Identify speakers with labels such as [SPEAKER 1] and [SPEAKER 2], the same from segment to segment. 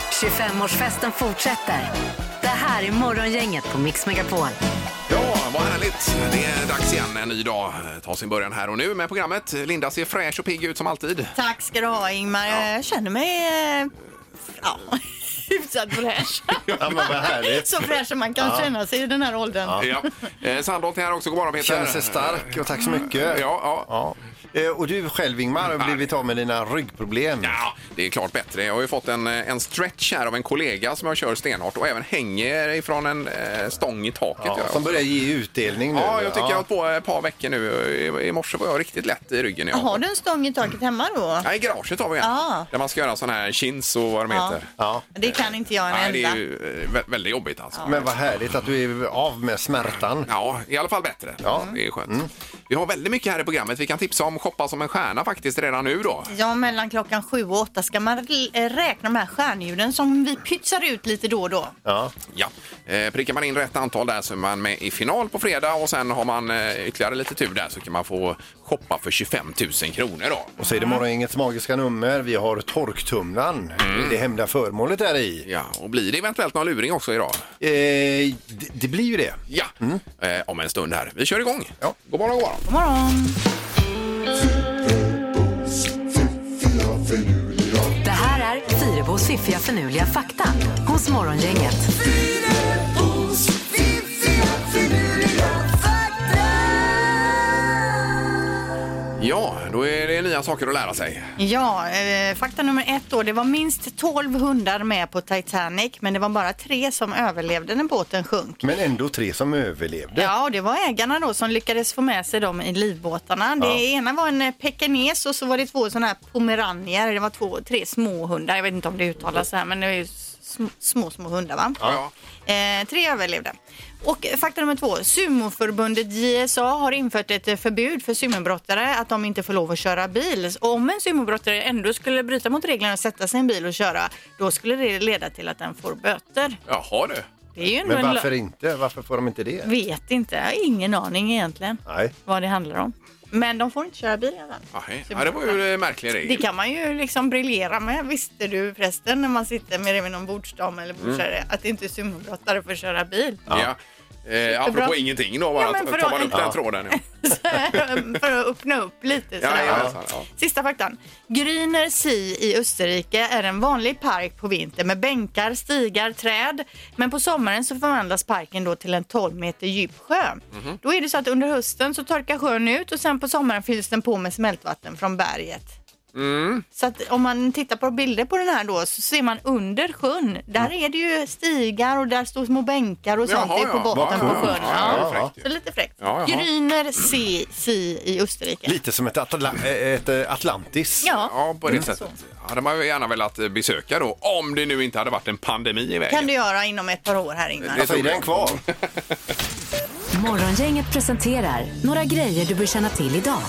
[SPEAKER 1] 25-årsfesten fortsätter. Det här är Morgongänget på Mix Megapol.
[SPEAKER 2] Ja, vad härligt. Det är dags igen. En ny dag eh, tar sin början här och nu med programmet. Linda ser fräsch och pigg ut som alltid.
[SPEAKER 3] Tack ska du ha Ingmar. Jag känner mig eh, ja, hyfsat fräsch.
[SPEAKER 4] Ja, men vad härligt.
[SPEAKER 3] Så fräsch som man kan känna sig i den här åldern.
[SPEAKER 2] Ja. Eh, Sandholt är här också. God morgon Peter.
[SPEAKER 4] Känner sig stark och tack så mycket.
[SPEAKER 2] Ja, ja.
[SPEAKER 4] Ja. Eh, Och du själv Ingmar har blivit av med dina ryggproblem.
[SPEAKER 2] Ja, det är klart bättre. Jag har ju fått en, eh, en stretch här av en kollega som jag kör stenhårt och även hänger ifrån en eh, stång i taket. gör
[SPEAKER 4] Ja,
[SPEAKER 2] jag
[SPEAKER 4] som
[SPEAKER 2] också.
[SPEAKER 4] börjar ge utdelning nu.
[SPEAKER 2] Ja, jag tycker jag har hållit på ett par veckor nu. I, i morse var jag riktigt lätt i ryggen. Jag.
[SPEAKER 3] Har du en stång i taket hemma då?
[SPEAKER 2] Ja, i garaget har vi en.
[SPEAKER 3] Ja.
[SPEAKER 2] Där man ska göra sådana här chins och vad de
[SPEAKER 3] Ja.
[SPEAKER 2] heter.
[SPEAKER 4] Ja.
[SPEAKER 3] Det kan inte jag en
[SPEAKER 2] Nej, det är
[SPEAKER 3] enda.
[SPEAKER 2] ju eh, vä- väldigt jobbigt alltså.
[SPEAKER 4] Men vad härligt att du är av med smärtan.
[SPEAKER 2] Ja, i alla fall bättre. Mm.
[SPEAKER 4] Ja. Mm.
[SPEAKER 2] Det är skönt. Vi har väldigt mycket här i programmet. Vi kan tipsa om Shoppa som en stjärna faktiskt redan nu då.
[SPEAKER 3] Ja, mellan klockan sju och åtta ska man l- eh, räkna de här stjärnljuden som vi pytsar ut lite då och då.
[SPEAKER 4] Ja.
[SPEAKER 2] Ja. Eh, prickar man in rätt antal där så är man med i final på fredag och sen har man eh, ytterligare lite tur där så kan man få shoppa för 25 000 kronor då.
[SPEAKER 4] Och så är det morgongängets magiska nummer. Vi har torktumlaren.
[SPEAKER 2] Mm.
[SPEAKER 4] Det är Det hemliga föremålet där i.
[SPEAKER 2] Ja, och blir det eventuellt någon luring också idag?
[SPEAKER 4] Eh, det, det blir ju det. Mm.
[SPEAKER 2] Ja, eh, om en stund här. Vi kör igång.
[SPEAKER 4] Ja.
[SPEAKER 2] God morgon, god morgon.
[SPEAKER 3] God morgon!
[SPEAKER 1] Det här är Fyrabos fiffiga förnuliga fakta hos Morgongänget.
[SPEAKER 2] Ja, då är det nya saker att lära sig.
[SPEAKER 3] Ja, eh, fakta nummer ett då. Det var minst 12 hundar med på Titanic men det var bara tre som överlevde när båten sjönk.
[SPEAKER 4] Men ändå tre som överlevde.
[SPEAKER 3] Ja, och det var ägarna då som lyckades få med sig dem i livbåtarna. Det ena var en eh, pekines och så var det två sådana här pomeranier. Det var två, tre småhundar. Jag vet inte om det uttalas så här, men det är ju sm- små, små hundar va?
[SPEAKER 2] Ja.
[SPEAKER 3] Eh, tre överlevde. Och eh, fakta nummer två. Sumoförbundet JSA har infört ett eh, förbud för sumobrottare att de inte får lov att köra bil. Och om en sumobrottare ändå skulle bryta mot reglerna och sätta sig i en bil och köra, då skulle det leda till att den får böter.
[SPEAKER 2] Jaha du.
[SPEAKER 3] Det är ju ändå
[SPEAKER 4] Men
[SPEAKER 3] en
[SPEAKER 4] varför inte? Varför får de inte det?
[SPEAKER 3] Vet inte. Jag har ingen aning egentligen
[SPEAKER 4] Nej.
[SPEAKER 3] vad det handlar om. Men de får inte köra bil i alla fall.
[SPEAKER 2] Aj, Ah, ja, det var ju eh, en märklig
[SPEAKER 3] Det
[SPEAKER 2] regel.
[SPEAKER 3] kan man ju liksom briljera med. Visste du förresten när man sitter med det med någon bordsdam eller bordsherre att det inte är sumobrottare för att köra bil?
[SPEAKER 2] Mm. Ja. Eh, apropå
[SPEAKER 3] Superbra.
[SPEAKER 2] ingenting då, bara,
[SPEAKER 3] Ja, men för då-
[SPEAKER 2] tar man upp den tråden. Ja.
[SPEAKER 3] för att öppna upp lite.
[SPEAKER 2] Ja,
[SPEAKER 3] sådär.
[SPEAKER 2] jajamensan, ja.
[SPEAKER 3] Sista faktan. Grüner See i Österrike är en vanlig park på vintern med bänkar, stigar, träd. Men på sommaren så förvandlas parken då till en 12 meter djup sjö.
[SPEAKER 2] Mm-hmm.
[SPEAKER 3] Då är det så att under hösten så torkar sjön ut och sen på sommaren fylls den på med smältvatten från berget. Så att om man tittar på bilder på den här då så ser man under sjön. Där är det ju stigar och där står små bänkar och sånt
[SPEAKER 2] Jaha,
[SPEAKER 3] är på
[SPEAKER 2] ja.
[SPEAKER 3] botten
[SPEAKER 4] Vad
[SPEAKER 3] på
[SPEAKER 4] kul.
[SPEAKER 3] sjön.
[SPEAKER 2] Ja,
[SPEAKER 4] det är fräckt
[SPEAKER 2] ju.
[SPEAKER 3] Så lite fräckt.
[SPEAKER 2] Ja, jaha.
[SPEAKER 3] Grüner See, See i Österrike.
[SPEAKER 4] Lite som ett, atla- eh, ett eh, Atlantis.
[SPEAKER 3] Ja.
[SPEAKER 2] Ja, på
[SPEAKER 4] Mm.
[SPEAKER 2] det sättet. Hade man ju gärna velat eh, besöka då, om det nu inte hade varit en pandemi i vägen.
[SPEAKER 3] kan du göra inom ett par år här Ingmar.
[SPEAKER 2] Det-
[SPEAKER 4] Alltså är den kvar?
[SPEAKER 1] Morgongänget presenterar några grejer du bör känna till idag.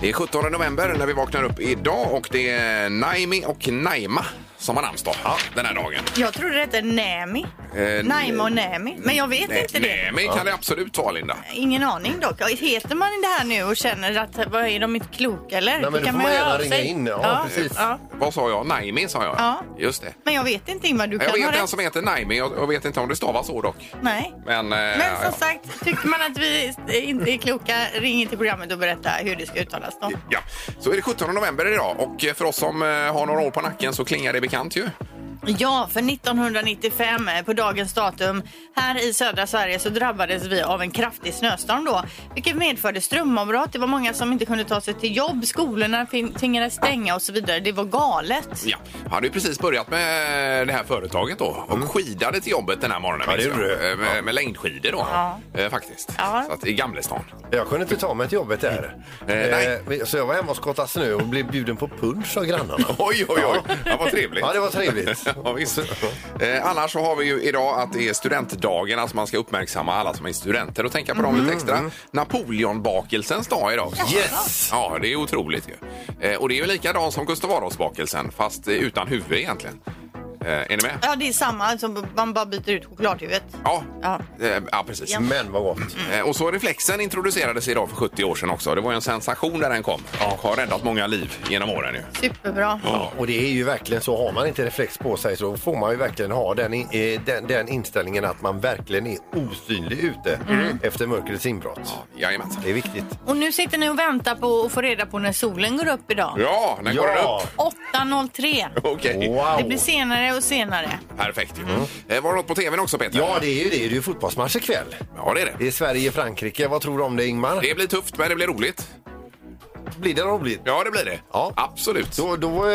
[SPEAKER 2] Det är 17 november när vi vaknar upp idag och det är Naimi och Naima som har namnsdag den här dagen.
[SPEAKER 3] Jag trodde det hette Nämi.
[SPEAKER 2] Eh,
[SPEAKER 3] Naima och Nämi. Men jag vet inte det.
[SPEAKER 2] Naimi kan det absolut vara, Linda.
[SPEAKER 3] Ingen aning dock. Heter man det här nu och känner att vad är de inte kloka eller?
[SPEAKER 4] men
[SPEAKER 3] Det
[SPEAKER 4] då
[SPEAKER 3] kan
[SPEAKER 4] får man
[SPEAKER 3] höra
[SPEAKER 4] gärna
[SPEAKER 3] av
[SPEAKER 4] ringa
[SPEAKER 3] sig.
[SPEAKER 4] in. Ja, precis.
[SPEAKER 3] Ja.
[SPEAKER 2] Vad sa jag? Naimi sa jag.
[SPEAKER 3] Ja.
[SPEAKER 2] Just det.
[SPEAKER 3] Men jag vet inte Ingmar, du kan
[SPEAKER 2] Jag
[SPEAKER 3] ha
[SPEAKER 2] vet en
[SPEAKER 3] rätt.
[SPEAKER 2] som heter Naimi. Jag jag vet inte om det stavas så dock.
[SPEAKER 3] Nej.
[SPEAKER 2] Men, eh,
[SPEAKER 3] Men
[SPEAKER 2] ja,
[SPEAKER 3] som
[SPEAKER 2] ja.
[SPEAKER 3] sagt, tycker man att vi inte är kloka, ring in till programmet och berätta hur det ska uttalas då.
[SPEAKER 2] Ja, så är det 17 november idag och eh, för oss som eh, har några år på nacken så klingar det bekant ju.
[SPEAKER 3] Ja, för 1995 eh, på dagens datum här i södra Sverige så drabbades vi av en kraftig snöstorm då, vilket medförde strömavbrott. Det var många som inte kunde ta sig till jobb, skolorna fin- tvingades stänga och så vidare. Det var galet.
[SPEAKER 2] Ja, jag hade ju precis börjat med det här företaget då och skidade till jobbet den här morgonen.
[SPEAKER 4] Mm. Ja, det
[SPEAKER 2] minns jag.
[SPEAKER 4] gjorde du.
[SPEAKER 2] Eh, Med, med längdskidor då,
[SPEAKER 3] Ja.
[SPEAKER 2] eh, faktiskt.
[SPEAKER 3] Ja.
[SPEAKER 2] Så att, I Gamlestan.
[SPEAKER 4] Jag kunde inte ta mig till jobbet där.
[SPEAKER 2] Mm. nej.
[SPEAKER 4] Eh, så jag var hemma och skottade snö och blev bjuden på punsch av grannarna.
[SPEAKER 2] Oj, oj, oj! Ja, vad trevligt.
[SPEAKER 4] Ja, det var trevligt.
[SPEAKER 2] Ja, visst. Eh, annars så har vi ju idag att det är studentdagen, alltså man ska uppmärksamma alla som är studenter och tänka på dem
[SPEAKER 4] Mm.
[SPEAKER 2] lite extra. Napoleonbakelsens dag idag också.
[SPEAKER 4] Yes!
[SPEAKER 2] Ja, det är otroligt ju. Eh, och det är ju likadant som Gustav Adolfsbakelsen, fast eh, utan huvud egentligen. Eh, är ni med?
[SPEAKER 3] Ja, det är samma. Som man bara byter ut chokladhuvudet.
[SPEAKER 2] Ja,
[SPEAKER 3] Ja.
[SPEAKER 2] Eh, ja precis.
[SPEAKER 4] Men vad gott.
[SPEAKER 2] Eh, Och så reflexen introducerades idag för 70 år sedan också. Det var ju en sensation när den kom. Och har räddat många liv genom åren ju.
[SPEAKER 3] Superbra.
[SPEAKER 4] Och det är ju verkligen så, har man inte reflex på sig så får man ju verkligen ha den, i- eh, den, den inställningen att man verkligen är osynlig ute efter mörkrets inbrott.
[SPEAKER 2] Mm. Jajamensan.
[SPEAKER 4] Det är viktigt.
[SPEAKER 3] Och nu sitter ni och väntar på att få reda på när solen går upp idag.
[SPEAKER 2] Ja, den går den upp.
[SPEAKER 3] 8.03.
[SPEAKER 2] Okej,
[SPEAKER 3] Det blir
[SPEAKER 4] Wow! Mm.
[SPEAKER 3] senare och senare.
[SPEAKER 2] perfekt. ju. Eh, Var det något på tvn också Peter?
[SPEAKER 4] Ja, det är ju det. Det är ju fotbollsmatch ikväll.
[SPEAKER 2] ja, det är det.
[SPEAKER 4] Det är Sverige-Frankrike. Vad tror du om det, Ingmar?
[SPEAKER 2] Det blir tufft men det blir roligt.
[SPEAKER 4] Blir det roligt?
[SPEAKER 2] Ja, det blir det.
[SPEAKER 4] Ja.
[SPEAKER 2] Absolut.
[SPEAKER 4] Då, då eh,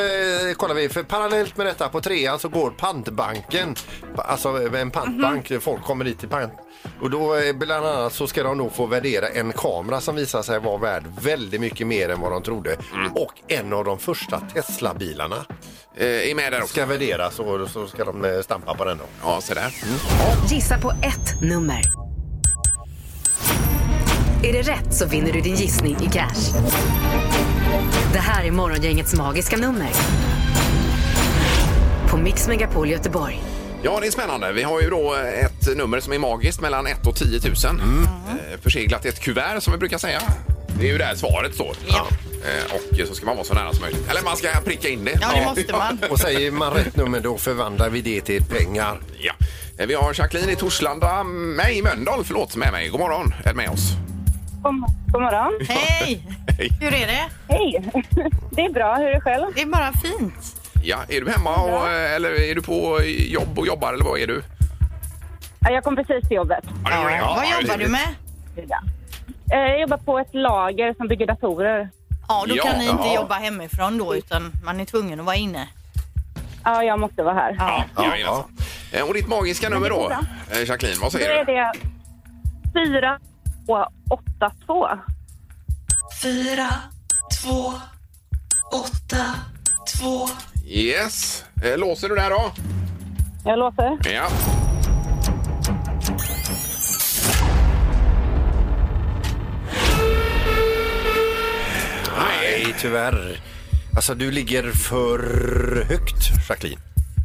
[SPEAKER 4] kollar vi, för parallellt med detta på trean så går pantbanken, alltså en pantbank,
[SPEAKER 2] Mhm.
[SPEAKER 4] folk kommer dit till pant. Och då eh, bland annat så ska de nog få värdera en kamera som visar sig vara värd väldigt mycket mer än vad de trodde. Och en av de första Tesla-bilarna
[SPEAKER 2] Mm. Eh, är med där också.
[SPEAKER 4] ska värderas och så ska de eh, stampa på den då. Mm.
[SPEAKER 2] Ja, se där.
[SPEAKER 1] Gissa på ett nummer. Är det rätt så vinner du din gissning i cash. Det här är Morgongängets magiska nummer. På Mix Megapol Göteborg.
[SPEAKER 2] Ja, det är spännande. Vi har ju då ett nummer som är magiskt mellan 1 och 10 000. Eh, Förseglat i ett kuvert som vi brukar säga. Det är ju där svaret står.
[SPEAKER 3] Ja.
[SPEAKER 2] Eh, Och så ska man vara så nära som möjligt. Eller man ska pricka in det.
[SPEAKER 3] Ja, det måste man.
[SPEAKER 4] Och säger man rätt nummer då förvandlar vi det till pengar.
[SPEAKER 2] Ja. Eh, Vi har Jacqueline i Torslanda, nej Mölndal, förlåt, med mig. God morgon, är med oss.
[SPEAKER 5] God god morgon.
[SPEAKER 3] Hej!
[SPEAKER 2] Hej.
[SPEAKER 3] Hur är det?
[SPEAKER 5] Hej! Det är bra. Hur är det själv?
[SPEAKER 3] Det är bara fint.
[SPEAKER 2] Ja, är du hemma och, eh, eller är du på jobb och jobbar eller vad är du?
[SPEAKER 5] Ja, Jag kom precis till jobbet.
[SPEAKER 3] Vad jobbar du med?
[SPEAKER 5] Ja. Eh, Jag jobbar på ett lager som bygger datorer.
[SPEAKER 3] Ja, då kan
[SPEAKER 2] Ja,
[SPEAKER 3] ni inte
[SPEAKER 2] ja.
[SPEAKER 3] jobba hemifrån då utan man är tvungen att vara inne.
[SPEAKER 5] Ja, jag måste vara här.
[SPEAKER 2] Ja, ja,
[SPEAKER 4] Ja.
[SPEAKER 2] Eh, Och ditt magiska nummer då, eh, Jacqueline, vad
[SPEAKER 5] Då
[SPEAKER 2] säger
[SPEAKER 5] är
[SPEAKER 2] du?
[SPEAKER 5] det 4282.
[SPEAKER 6] fyra, två, åtta, två.
[SPEAKER 2] Yes. Eh, Låser du där då?
[SPEAKER 5] Jag låser.
[SPEAKER 2] Ja.
[SPEAKER 4] Nej, tyvärr. Alltså du ligger för högt, Jacqueline.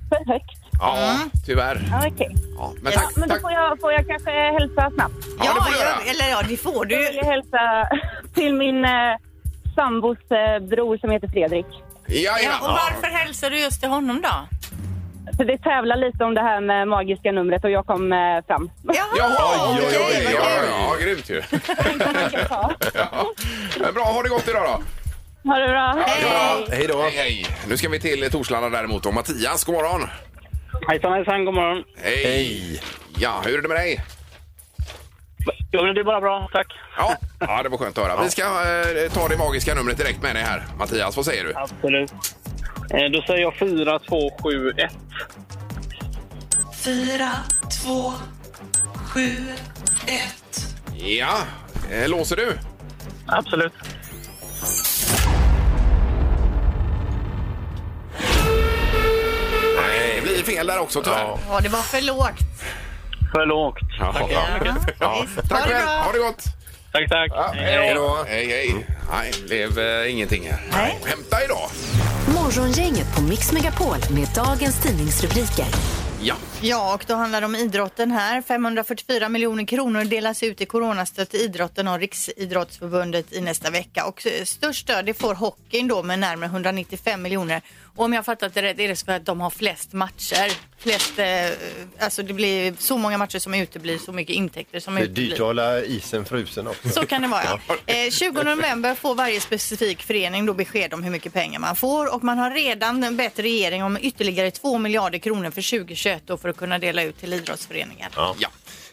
[SPEAKER 5] För högt.
[SPEAKER 2] Ja, tyvärr.
[SPEAKER 5] Ja, Okej.
[SPEAKER 2] Ja, men tack.
[SPEAKER 5] Ja, men då
[SPEAKER 2] tack.
[SPEAKER 5] får jag, får jag kanske hälsa snabbt.
[SPEAKER 2] Ja, det får du göra.
[SPEAKER 3] jag- eller ja, det får
[SPEAKER 5] Jag
[SPEAKER 3] du.
[SPEAKER 5] vill hälsa till min eh, sambos eh, bror som heter Fredrik.
[SPEAKER 2] Ja,
[SPEAKER 3] Ja, och
[SPEAKER 2] ja.
[SPEAKER 3] varför hälsar du just till honom då?
[SPEAKER 5] Så det tävlar lite om det här med magiska numret och jag kom eh, fram.
[SPEAKER 2] Jaha,
[SPEAKER 4] Oj, oj,
[SPEAKER 2] oj, oj,
[SPEAKER 4] oj,
[SPEAKER 2] ja,
[SPEAKER 4] oj.
[SPEAKER 2] ja, grymt ju.
[SPEAKER 5] Ja.
[SPEAKER 2] Ja. Men Bra, ha det gott idag då.
[SPEAKER 5] Ha det bra.
[SPEAKER 2] Bra.
[SPEAKER 4] Hej då.
[SPEAKER 2] Hej, hej. Nu ska vi till Torslanda däremot och Mattias, god morgon.
[SPEAKER 7] Hejsan, hejsan, god morgon.
[SPEAKER 2] Hej.
[SPEAKER 4] Hej!
[SPEAKER 2] Ja, hur är det med dig?
[SPEAKER 7] Jo, men det är bara bra, tack.
[SPEAKER 2] Ja, ja det var skönt att höra. Vi ska eh, ta det magiska numret direkt med dig här. Mattias, vad säger du?
[SPEAKER 7] Absolut. Eh, Då säger jag 4, 2, 7, 1.
[SPEAKER 6] Fyra, två, sju, ett.
[SPEAKER 2] Ja, eh, låser du?
[SPEAKER 7] Absolut.
[SPEAKER 2] Nej, det blir fel där också tyvärr.
[SPEAKER 3] Ja, det var för lågt.
[SPEAKER 7] För lågt.
[SPEAKER 2] Ja.
[SPEAKER 3] Ja.
[SPEAKER 2] Ja.
[SPEAKER 3] Visst.
[SPEAKER 2] Tack
[SPEAKER 3] Ha det
[SPEAKER 2] själv,
[SPEAKER 3] bra.
[SPEAKER 2] ha det gott!
[SPEAKER 7] Tack, tack.
[SPEAKER 4] Hej då.
[SPEAKER 2] Hej, hej. Nej, det blev eh, ingenting här. Nej. Hämta idag.
[SPEAKER 1] Morgongänget på Mix Megapol med dagens tidningsrubriker.
[SPEAKER 2] Ja.
[SPEAKER 3] Ja, och då handlar det om idrotten här. 544 miljoner kronor delas ut i coronastöd till idrotten och Riksidrottsförbundet i nästa vecka. Och eh, störst stöd det får hockeyn då med närmare 195 miljoner. Och om jag har fattat det rätt är det så för att de har flest matcher. Flest, eh, alltså det blir så många matcher som uteblir, så mycket intäkter som
[SPEAKER 4] Det är dyrt att
[SPEAKER 3] uteblir.
[SPEAKER 4] hålla isen frusen också.
[SPEAKER 3] Så kan det vara. Ja. Eh, 20 november får varje specifik förening då besked om hur mycket pengar man får och man har redan bett regeringen om ytterligare 2 miljarder kronor för 2021 då för att kunna dela ut till idrottsföreningar.
[SPEAKER 2] ja.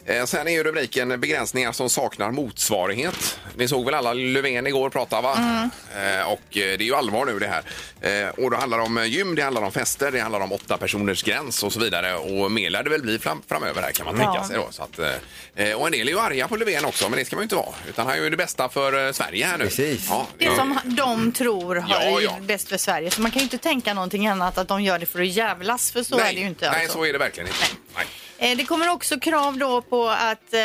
[SPEAKER 2] Eh, Sen är ju rubriken begränsningar som saknar motsvarighet. Ni såg väl alla Löfven igår prata va? Eh, Och eh, det är ju allvar nu det här. Eh, Och då handlar det om gym, det handlar om fester, det handlar om åtta personers gräns och så vidare. Och mer lär det väl bli fram, framöver här kan man tänka
[SPEAKER 3] Ja.
[SPEAKER 2] sig då. Så att, eh, och en del är ju arga på Löfven också, men det ska man ju inte vara. Utan han gör ju det bästa för eh, Sverige här nu.
[SPEAKER 4] Precis.
[SPEAKER 2] Ja,
[SPEAKER 3] Det som de tror har
[SPEAKER 2] Ja, ja.
[SPEAKER 3] bäst för Sverige. Så man kan ju inte tänka någonting annat att de gör det för att jävlas, för så är det ju inte.
[SPEAKER 2] Nej,
[SPEAKER 3] alltså.
[SPEAKER 2] så är det verkligen inte. Nej.
[SPEAKER 3] Eh, Det kommer också krav då på att eh,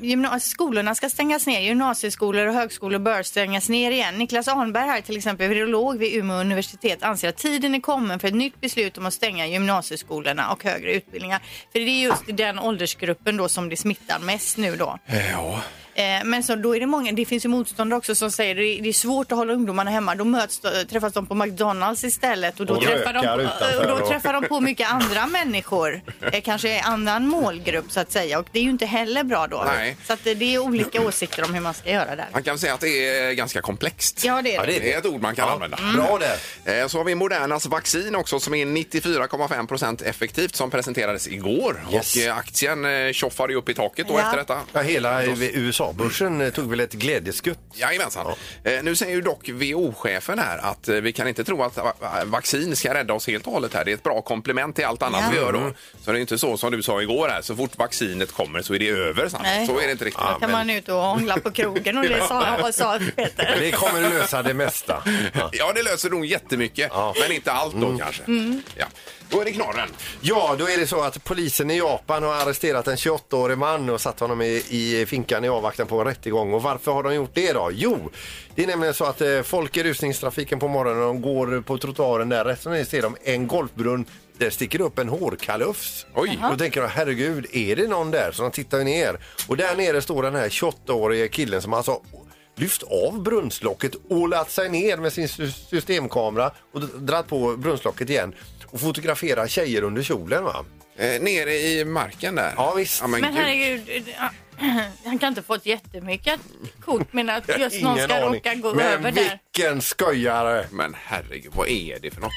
[SPEAKER 3] gymna- skolorna ska stängas ner. Gymnasieskolor och högskolor bör stängas ner igen. Niklas Arnberg här till exempel, virolog vid Umeå universitet, anser att tiden är kommen för ett nytt beslut om att stänga gymnasieskolorna och högre utbildningar. För det är just i den åldersgruppen då som det smittar mest nu då.
[SPEAKER 2] Ja.
[SPEAKER 3] Eh, Men så, då är det många, det finns ju motståndare också som säger det är- det är svårt att hålla ungdomarna hemma. Då möts, eh, träffas de på McDonalds istället och då,
[SPEAKER 4] Och
[SPEAKER 3] träffar, de,
[SPEAKER 4] rökar utanför
[SPEAKER 3] och då
[SPEAKER 4] och-
[SPEAKER 3] träffar de på mycket andra människor. Eh, Kanske en annan målgrupp så att säga och det är ju inte heller bra då.
[SPEAKER 2] Nej.
[SPEAKER 3] Så att eh, det är olika åsikter om hur man ska göra där.
[SPEAKER 2] Man kan säga att det är ganska komplext.
[SPEAKER 3] Ja, det är
[SPEAKER 4] Ja,
[SPEAKER 3] det.
[SPEAKER 4] det är
[SPEAKER 2] Det är ett ord man kan
[SPEAKER 4] Ja, Mm.
[SPEAKER 2] använda.
[SPEAKER 4] Bra där.
[SPEAKER 2] Eh, Så har vi Modernas vaccin också som är 94,5 effektivt som presenterades igår.
[SPEAKER 4] Yes.
[SPEAKER 2] Och eh, aktien eh, tjoffade ju upp i taket då
[SPEAKER 3] Ja.
[SPEAKER 2] efter detta.
[SPEAKER 4] Ja, hela USA-börsen eh, tog väl ett glädjeskutt.
[SPEAKER 2] Jajamensan. Eh, Nu säger ju dock WHO-chefen här att eh, vi kan inte tro att va- va- vaccin ska rädda oss helt och hållet här. Det är ett bra komplement till allt annat
[SPEAKER 3] Ja.
[SPEAKER 2] vi gör
[SPEAKER 4] Mm.
[SPEAKER 2] då. Så det är inte så som du sa igår här, så fort vaccinet kommer så är det över. sant?
[SPEAKER 3] Nej.
[SPEAKER 2] Så är det inte riktigt.
[SPEAKER 3] Då kan man ut och hångla på krogen och det sa, sa Peter.
[SPEAKER 4] Det kommer lösa det mesta. Ja.
[SPEAKER 2] Ja, det löser nog jättemycket,
[SPEAKER 4] Ja. Mm.
[SPEAKER 2] men inte allt då kanske.
[SPEAKER 3] Mm.
[SPEAKER 2] Ja. Då är det knorren.
[SPEAKER 4] Ja, då är det så att polisen i Japan har arresterat en 28-årig man och satt honom i, i finkan i avvaktan på en rättegång. Och varför har de gjort det då? Jo, det är nämligen så att eh, folk i rusningstrafiken på morgonen de går på trottoaren där. Rätt som det är ser de en golfbrunn. Där sticker upp en hårkalufs.
[SPEAKER 2] Oj.
[SPEAKER 4] Då tänker de, herregud, är det någon där? Så de tittar ju ner. Och där nere står den här 28-årige killen som alltså lyft av brunnslocket, ålat sig ner med sin sy- systemkamera och dratt på brunnslocket igen och fotograferar tjejer under kjolen. Va?
[SPEAKER 2] Eh, nere i marken där.
[SPEAKER 4] Ja, visst.
[SPEAKER 2] men
[SPEAKER 3] Men
[SPEAKER 2] gud.
[SPEAKER 3] herregud, eh, ja, han kan inte fått jättemycket kort men att
[SPEAKER 4] Jag har
[SPEAKER 3] just någon
[SPEAKER 4] ingen
[SPEAKER 3] ska
[SPEAKER 4] aning.
[SPEAKER 3] råka gå
[SPEAKER 4] Men
[SPEAKER 3] över där.
[SPEAKER 4] vilken skojare!
[SPEAKER 2] Men herregud, vad är det för något?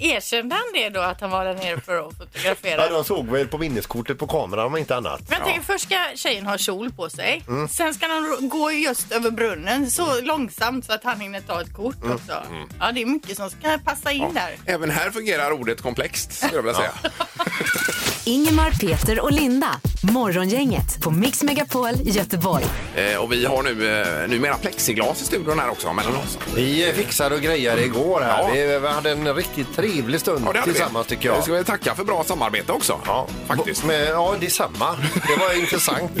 [SPEAKER 3] Erkände han det då att han var där nere för att fotografera?
[SPEAKER 4] Ja, de såg väl på minneskortet på kameran om inte annat.
[SPEAKER 3] Men jag tänker först ska tjejen ha kjol på sig.
[SPEAKER 2] Mm.
[SPEAKER 3] Sen ska han ro- gå just över brunnen så långsamt så att han hinner ta ett kort Mm. också. Ja, det är mycket som ska passa in där.
[SPEAKER 2] Mm. Även här fungerar ordet komplext, skulle jag vilja säga.
[SPEAKER 1] Ingemar, Peter och Linda. Morgongänget på Mix Megapol Göteborg.
[SPEAKER 2] Eh, och vi har nu eh, numera plexiglas i studion här också mellan oss.
[SPEAKER 4] Vi eh, fixade och grejade igår här.
[SPEAKER 2] Ja.
[SPEAKER 4] Vi, vi hade en riktigt trevlig stund
[SPEAKER 2] Ja, det hade vi.
[SPEAKER 4] tillsammans tycker jag.
[SPEAKER 2] Vi ska väl tacka för bra samarbete också.
[SPEAKER 4] Ja,
[SPEAKER 2] faktiskt.
[SPEAKER 4] Men, ja, detsamma. Det var intressant.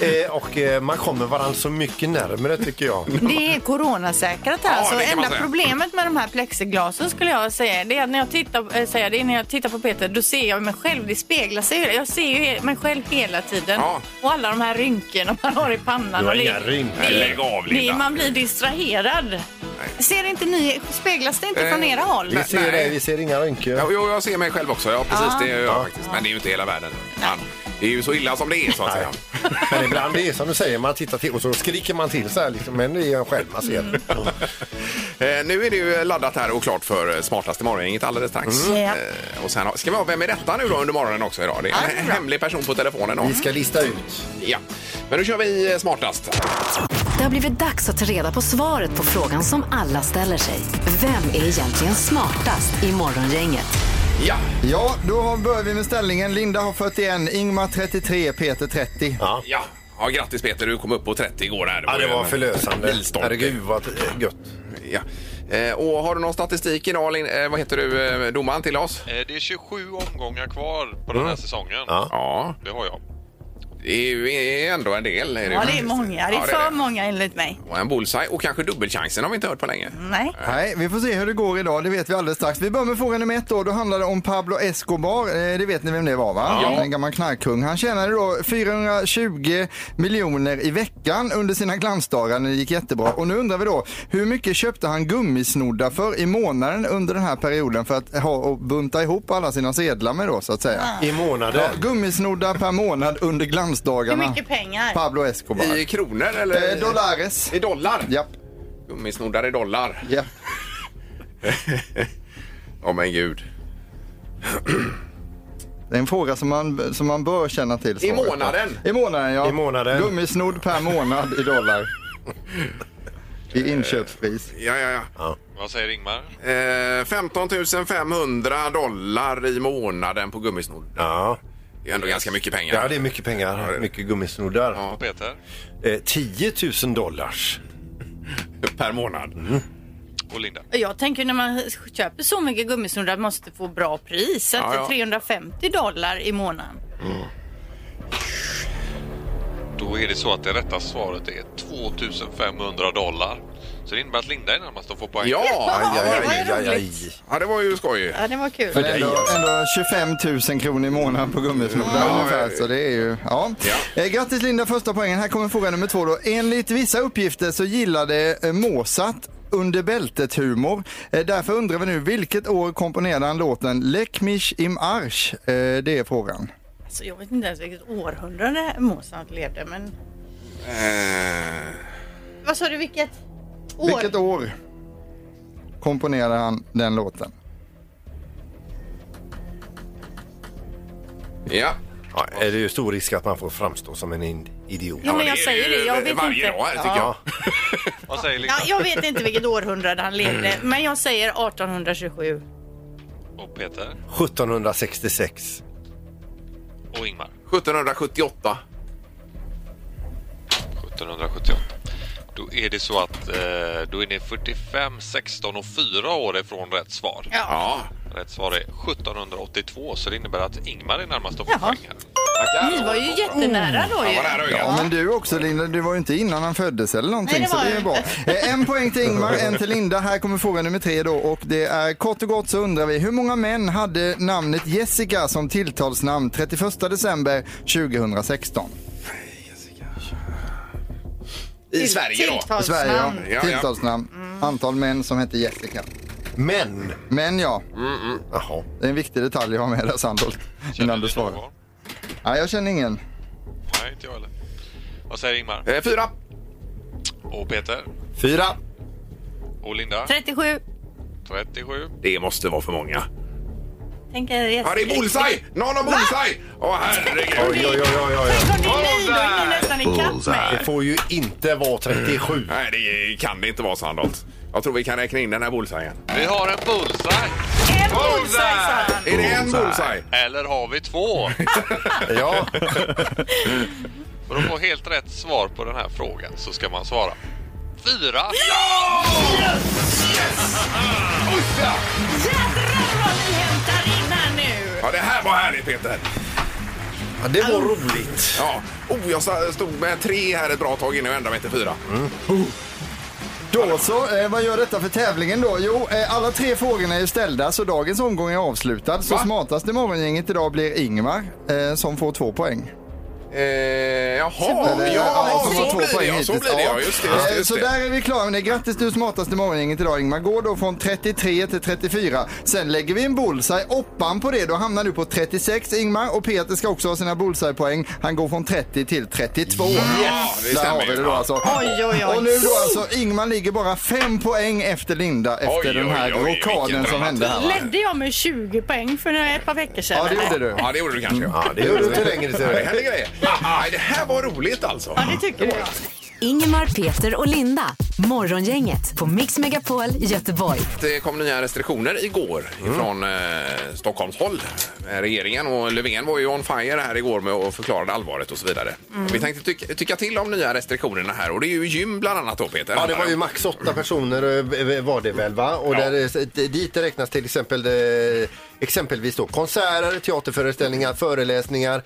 [SPEAKER 4] Eh, och eh, man kommer varandra så mycket närmare tycker jag.
[SPEAKER 3] Det är coronasäkrat här.
[SPEAKER 2] Ja,
[SPEAKER 3] alltså,
[SPEAKER 2] det kan man
[SPEAKER 3] enda
[SPEAKER 2] säga.
[SPEAKER 3] problemet med de här plexiglasen skulle jag säga, det är att när jag tittar, äh, säga, det är när jag tittar på Peter, då ser jag mig själv. Det speglar sig. ju. Jag ser ju he- mig själv hela tiden.
[SPEAKER 2] Ja.
[SPEAKER 3] Och alla de här rynkorna man har i pannan.
[SPEAKER 4] Du har
[SPEAKER 3] och det-
[SPEAKER 4] inga rynkor.
[SPEAKER 2] Nej, lägg av,
[SPEAKER 3] det,
[SPEAKER 2] Linda.
[SPEAKER 3] Man blir distraherad. Ser inte ni, speglas det inte
[SPEAKER 2] Eh,
[SPEAKER 3] från era håll?
[SPEAKER 4] Vi ser
[SPEAKER 2] Nej.
[SPEAKER 4] dig, vi ser inga rynkor.
[SPEAKER 2] Ja, jo, jag ser mig själv också. Ja, precis. Det gör jag faktiskt. Men det är ju inte hela världen. Men det är ju så illa som det är, så att säga.
[SPEAKER 4] Men ibland det är som du säger, man tittar till och så skriker man till så här liksom. Men det är en själv man ser.
[SPEAKER 3] Mm.
[SPEAKER 2] Eh, nu är det ju laddat här och klart för eh, smartaste morgongänget alldeles strax.
[SPEAKER 3] Mm. Ja.
[SPEAKER 2] Eh, och sen har, ska vi ha Vem är detta nu då under morgonen också idag? Det är en
[SPEAKER 3] Ja, det är bra.
[SPEAKER 2] hemlig person på telefonen. Då.
[SPEAKER 4] Vi ska lista ut.
[SPEAKER 2] Ja. Men nu kör vi eh, smartast.
[SPEAKER 1] Det har blivit dags att ta reda på svaret på frågan som alla ställer sig. Vem är egentligen smartast i morgongänget?
[SPEAKER 2] Ja,
[SPEAKER 8] Ja, då har- börjar vi med ställningen. Linda har 41, Ingmar 33, Peter 30.
[SPEAKER 4] Ja.
[SPEAKER 2] ja. Ja, grattis Peter, du kom upp på 30 igår. Här.
[SPEAKER 4] Ja, det
[SPEAKER 2] ju
[SPEAKER 4] var
[SPEAKER 2] en
[SPEAKER 4] förlösande.
[SPEAKER 2] milstolpe.
[SPEAKER 4] Herregud vad eh, gött.
[SPEAKER 2] Ja. Eh, och har du någon statistik idag, Lin- eh, vad heter du, eh, domaren till oss?
[SPEAKER 9] Eh, Det är 27 omgångar kvar på den här säsongen.
[SPEAKER 4] Ja.
[SPEAKER 2] Mm. Ja,
[SPEAKER 9] Det har jag.
[SPEAKER 2] det är ju ändå en del. Är det
[SPEAKER 3] Ja,
[SPEAKER 2] ju.
[SPEAKER 3] det är många. Det är
[SPEAKER 2] Ja,
[SPEAKER 3] för många enligt mig.
[SPEAKER 2] Och en bullseye och kanske dubbelchansen har vi inte hört på länge.
[SPEAKER 3] Nej.
[SPEAKER 8] Nej, vi får se hur det går idag. Det vet vi alldeles strax. Vi börjar med fråga nummer ett då. Då handlar det om Pablo Escobar. Eh, Det vet ni vem det var va?
[SPEAKER 2] Ja.
[SPEAKER 8] En gammal knarkkung. Han tjänade då 420 miljoner i veckan under sina glansdagar när det gick jättebra. Och nu undrar vi då, hur mycket köpte han gummisnoddar för i månaden under den här perioden för att ha och bunta ihop alla sina sedlar med då så att säga?
[SPEAKER 4] I månaden.
[SPEAKER 8] Gummisnoddar per månad under
[SPEAKER 3] Hur
[SPEAKER 8] glansdagarna.
[SPEAKER 3] mycket pengar?
[SPEAKER 8] Pablo Escobar.
[SPEAKER 2] I kronor eller?
[SPEAKER 8] Eh, dollares.
[SPEAKER 2] I dollar?
[SPEAKER 8] Japp,
[SPEAKER 2] Gummisnoddar i dollar.
[SPEAKER 8] japp.
[SPEAKER 2] Åh men gud.
[SPEAKER 8] Det är en fråga som man, som man bör känna till. svaret på.
[SPEAKER 2] månaden?
[SPEAKER 8] I månaden, ja.
[SPEAKER 4] I månaden.
[SPEAKER 8] Gummisnodd per månad i dollar. I inköpspris.
[SPEAKER 2] Ja, ja, ja.
[SPEAKER 9] Vad säger Ingmar?
[SPEAKER 2] Eh, 15 500 dollar i månaden på gummisnoddar.
[SPEAKER 4] Ja.
[SPEAKER 2] Det är ändå ganska mycket pengar.
[SPEAKER 4] ja, det är mycket pengar. Mycket gummisnoddar.
[SPEAKER 2] Ja,
[SPEAKER 9] Och Peter?
[SPEAKER 4] Eh, 10 000 dollars.
[SPEAKER 2] per månad.
[SPEAKER 9] och Linda.
[SPEAKER 3] Jag tänker när man köper så mycket gummisnoddar att man måste få bra pris. Så att
[SPEAKER 2] Ja, ja.
[SPEAKER 3] 350 dollar i månaden.
[SPEAKER 9] Då är det så att det rätta svaret är 2500 dollar. Så det innebär att Linda är närmast att få poäng.
[SPEAKER 2] Ja,
[SPEAKER 3] Ja,
[SPEAKER 2] aj, aj,
[SPEAKER 3] vad
[SPEAKER 2] aj.
[SPEAKER 3] är roligt.
[SPEAKER 2] ja, det var ju skoj.
[SPEAKER 3] Ja, det var kul.
[SPEAKER 8] Men ändå, ändå 25 000 kronor i månaden på gummisnoddar ungefär. Så det är ju, ja. Eh, grattis Linda, första poängen. Här kommer fråga nummer två då. Enligt vissa uppgifter så gillade eh, Mozart under bältet humor. Eh, därför undrar vi nu, vilket år komponerade han låten Leck mich im Arsch? Eh, det är frågan.
[SPEAKER 3] Alltså, jag vet inte ens vilket århundrade Mozart levde, men...
[SPEAKER 2] Eh,
[SPEAKER 3] Vad sa du, vilket år?
[SPEAKER 8] Vilket år komponerade han den låten?
[SPEAKER 2] ja.
[SPEAKER 4] Ja, är det ju stor risk att man får framstå som en in- idiot.
[SPEAKER 3] Jo, men jag
[SPEAKER 2] det är
[SPEAKER 3] säger det. Jag
[SPEAKER 2] ju
[SPEAKER 3] vet
[SPEAKER 2] varje
[SPEAKER 3] inte.
[SPEAKER 2] dag här, tycker
[SPEAKER 4] Ja.
[SPEAKER 9] Vad säger Linda?
[SPEAKER 3] Ja, jag vet inte vilket århundrade han levde, men jag säger 1827.
[SPEAKER 9] Och Peter?
[SPEAKER 4] 1766.
[SPEAKER 9] Och Ingmar?
[SPEAKER 2] 1778.
[SPEAKER 9] 1778. Då är det så att eh, då är ni 45, 16 och 4 år ifrån rätt svar.
[SPEAKER 2] Ja,
[SPEAKER 9] Rätt svar är 1782 så det innebär att Ingmar är närmast att få
[SPEAKER 3] Jaha.
[SPEAKER 9] poäng här.
[SPEAKER 3] Ni var ju jättenära då
[SPEAKER 2] han
[SPEAKER 3] ju.
[SPEAKER 2] var där
[SPEAKER 8] Ja,
[SPEAKER 2] ögat.
[SPEAKER 8] men du också Linda, du var ju inte innan han föddes eller någonting
[SPEAKER 3] Nej, det
[SPEAKER 8] så
[SPEAKER 3] var
[SPEAKER 8] det är
[SPEAKER 3] jag
[SPEAKER 8] bra. Eh, En poäng till Ingmar, en till Linda. Här kommer fråga nummer tre då och det är kort och gott så undrar vi hur många män hade namnet Jessica som tilltalsnamn 31 december 2016?
[SPEAKER 2] I Sverige då.
[SPEAKER 8] I Sverige ja.
[SPEAKER 3] Tilltalsnamn. Mm.
[SPEAKER 2] Ja, ja.
[SPEAKER 8] Tilltalsnamn. Antal män som hette Jessica.
[SPEAKER 4] Men...
[SPEAKER 8] Men ja,
[SPEAKER 4] Jaha.
[SPEAKER 8] det är en viktig detalj jag har med där Sandholt innan du svarar.
[SPEAKER 9] någon?
[SPEAKER 8] Nej, jag känner ingen.
[SPEAKER 9] Nej, inte jag heller. Vad säger Ingmar?
[SPEAKER 2] Eh, Fyra.
[SPEAKER 9] Och Peter?
[SPEAKER 4] Fyra.
[SPEAKER 9] Och Linda?
[SPEAKER 3] 37.
[SPEAKER 9] 37.
[SPEAKER 2] Det måste vara för många.
[SPEAKER 3] Tänker jag
[SPEAKER 2] Ja, det är bullseye! Någon har bullseye! Åh, herregud.
[SPEAKER 4] Oj, oj, oj, oj, oj.
[SPEAKER 3] Kom ni nej, då Alltså, är ni nästan ikapp mig.
[SPEAKER 4] Det får ju inte vara 37.
[SPEAKER 2] Mm. Nej, det kan det inte vara, Sandholt. Jag tror vi kan räkna in den här bullseyen.
[SPEAKER 9] Vi har en bullseye!
[SPEAKER 3] En bullseye sa han.
[SPEAKER 2] Är det en bullseye?
[SPEAKER 9] Eller har vi två?
[SPEAKER 4] Ja.
[SPEAKER 9] För att få helt rätt svar på den här frågan så ska man svara fyra.
[SPEAKER 3] Jädrar vad ni hämtar in här nu.
[SPEAKER 2] Ja, det här var härligt, Peter.
[SPEAKER 4] Ja, Det var roligt.
[SPEAKER 2] Ja. Oh, jag sta- stod med tre här ett bra tag innan jag ändrade mig till fyra.
[SPEAKER 4] Mm.
[SPEAKER 8] Då så, eh, vad gör detta för tävlingen då? Jo, eh, alla tre frågorna är ju ställda så dagens omgång är avslutad. Så
[SPEAKER 2] Va?
[SPEAKER 8] smartast i morgongänget idag blir Ingmar eh, som får två poäng.
[SPEAKER 2] Eh, jaha,
[SPEAKER 8] Eller,
[SPEAKER 2] ja,
[SPEAKER 4] alltså,
[SPEAKER 8] som har
[SPEAKER 2] så blir det ja, så
[SPEAKER 8] hittills.
[SPEAKER 2] blir det ja. Just det, just det,
[SPEAKER 8] Eh,
[SPEAKER 2] just
[SPEAKER 8] Så
[SPEAKER 2] det.
[SPEAKER 8] där är vi klara med det. Grattis du är smartast i morgongänget idag Ingmar. Går då från 33 till 34. Sen lägger vi en bullseye oppan på det. Då hamnar du på 36 Ingmar och Peter ska också ha sina bullseye-poäng. Han går från 30 till 32.
[SPEAKER 2] Ja, det
[SPEAKER 8] Där har
[SPEAKER 2] stämmer
[SPEAKER 8] vi det
[SPEAKER 2] ju.
[SPEAKER 8] då alltså.
[SPEAKER 3] Oj, oj, oj.
[SPEAKER 8] Och nu då alltså, Ingmar ligger bara fem poäng efter Linda efter
[SPEAKER 2] Oj,
[SPEAKER 8] den här
[SPEAKER 2] oj, oj,
[SPEAKER 8] rockaden
[SPEAKER 2] vilken
[SPEAKER 8] som hände här. va?
[SPEAKER 3] Ledde jag med 20 poäng för några- ett par veckor sedan?
[SPEAKER 8] Ja, det
[SPEAKER 3] eller?
[SPEAKER 8] gjorde du.
[SPEAKER 2] Ja, det gjorde du kanske. Ja.
[SPEAKER 4] Ja, det gjorde inte längre
[SPEAKER 2] Ja, Det
[SPEAKER 4] till.
[SPEAKER 2] händer grejer. Nej, det här var roligt alltså.
[SPEAKER 3] Ja, det tycker jag.
[SPEAKER 1] Ingemar, Peter och Linda. Morgongänget på Mix Megapol Göteborg.
[SPEAKER 2] Det kom nya restriktioner igår
[SPEAKER 3] Mm.
[SPEAKER 2] från eh, Stockholmshåll. Eh, Regeringen och Löfven var ju on fire här igår med att förklara allvaret och så vidare.
[SPEAKER 3] Mm.
[SPEAKER 2] Vi tänkte tycka, tycka till om nya restriktionerna här och det är ju gym bland annat då Peter.
[SPEAKER 4] Ja, det var ju max åtta personer eh, var det väl va? Och
[SPEAKER 2] Ja.
[SPEAKER 4] där, eh, dit räknas till exempel eh, exempelvis då konserter, teaterföreställningar, föreläsningar,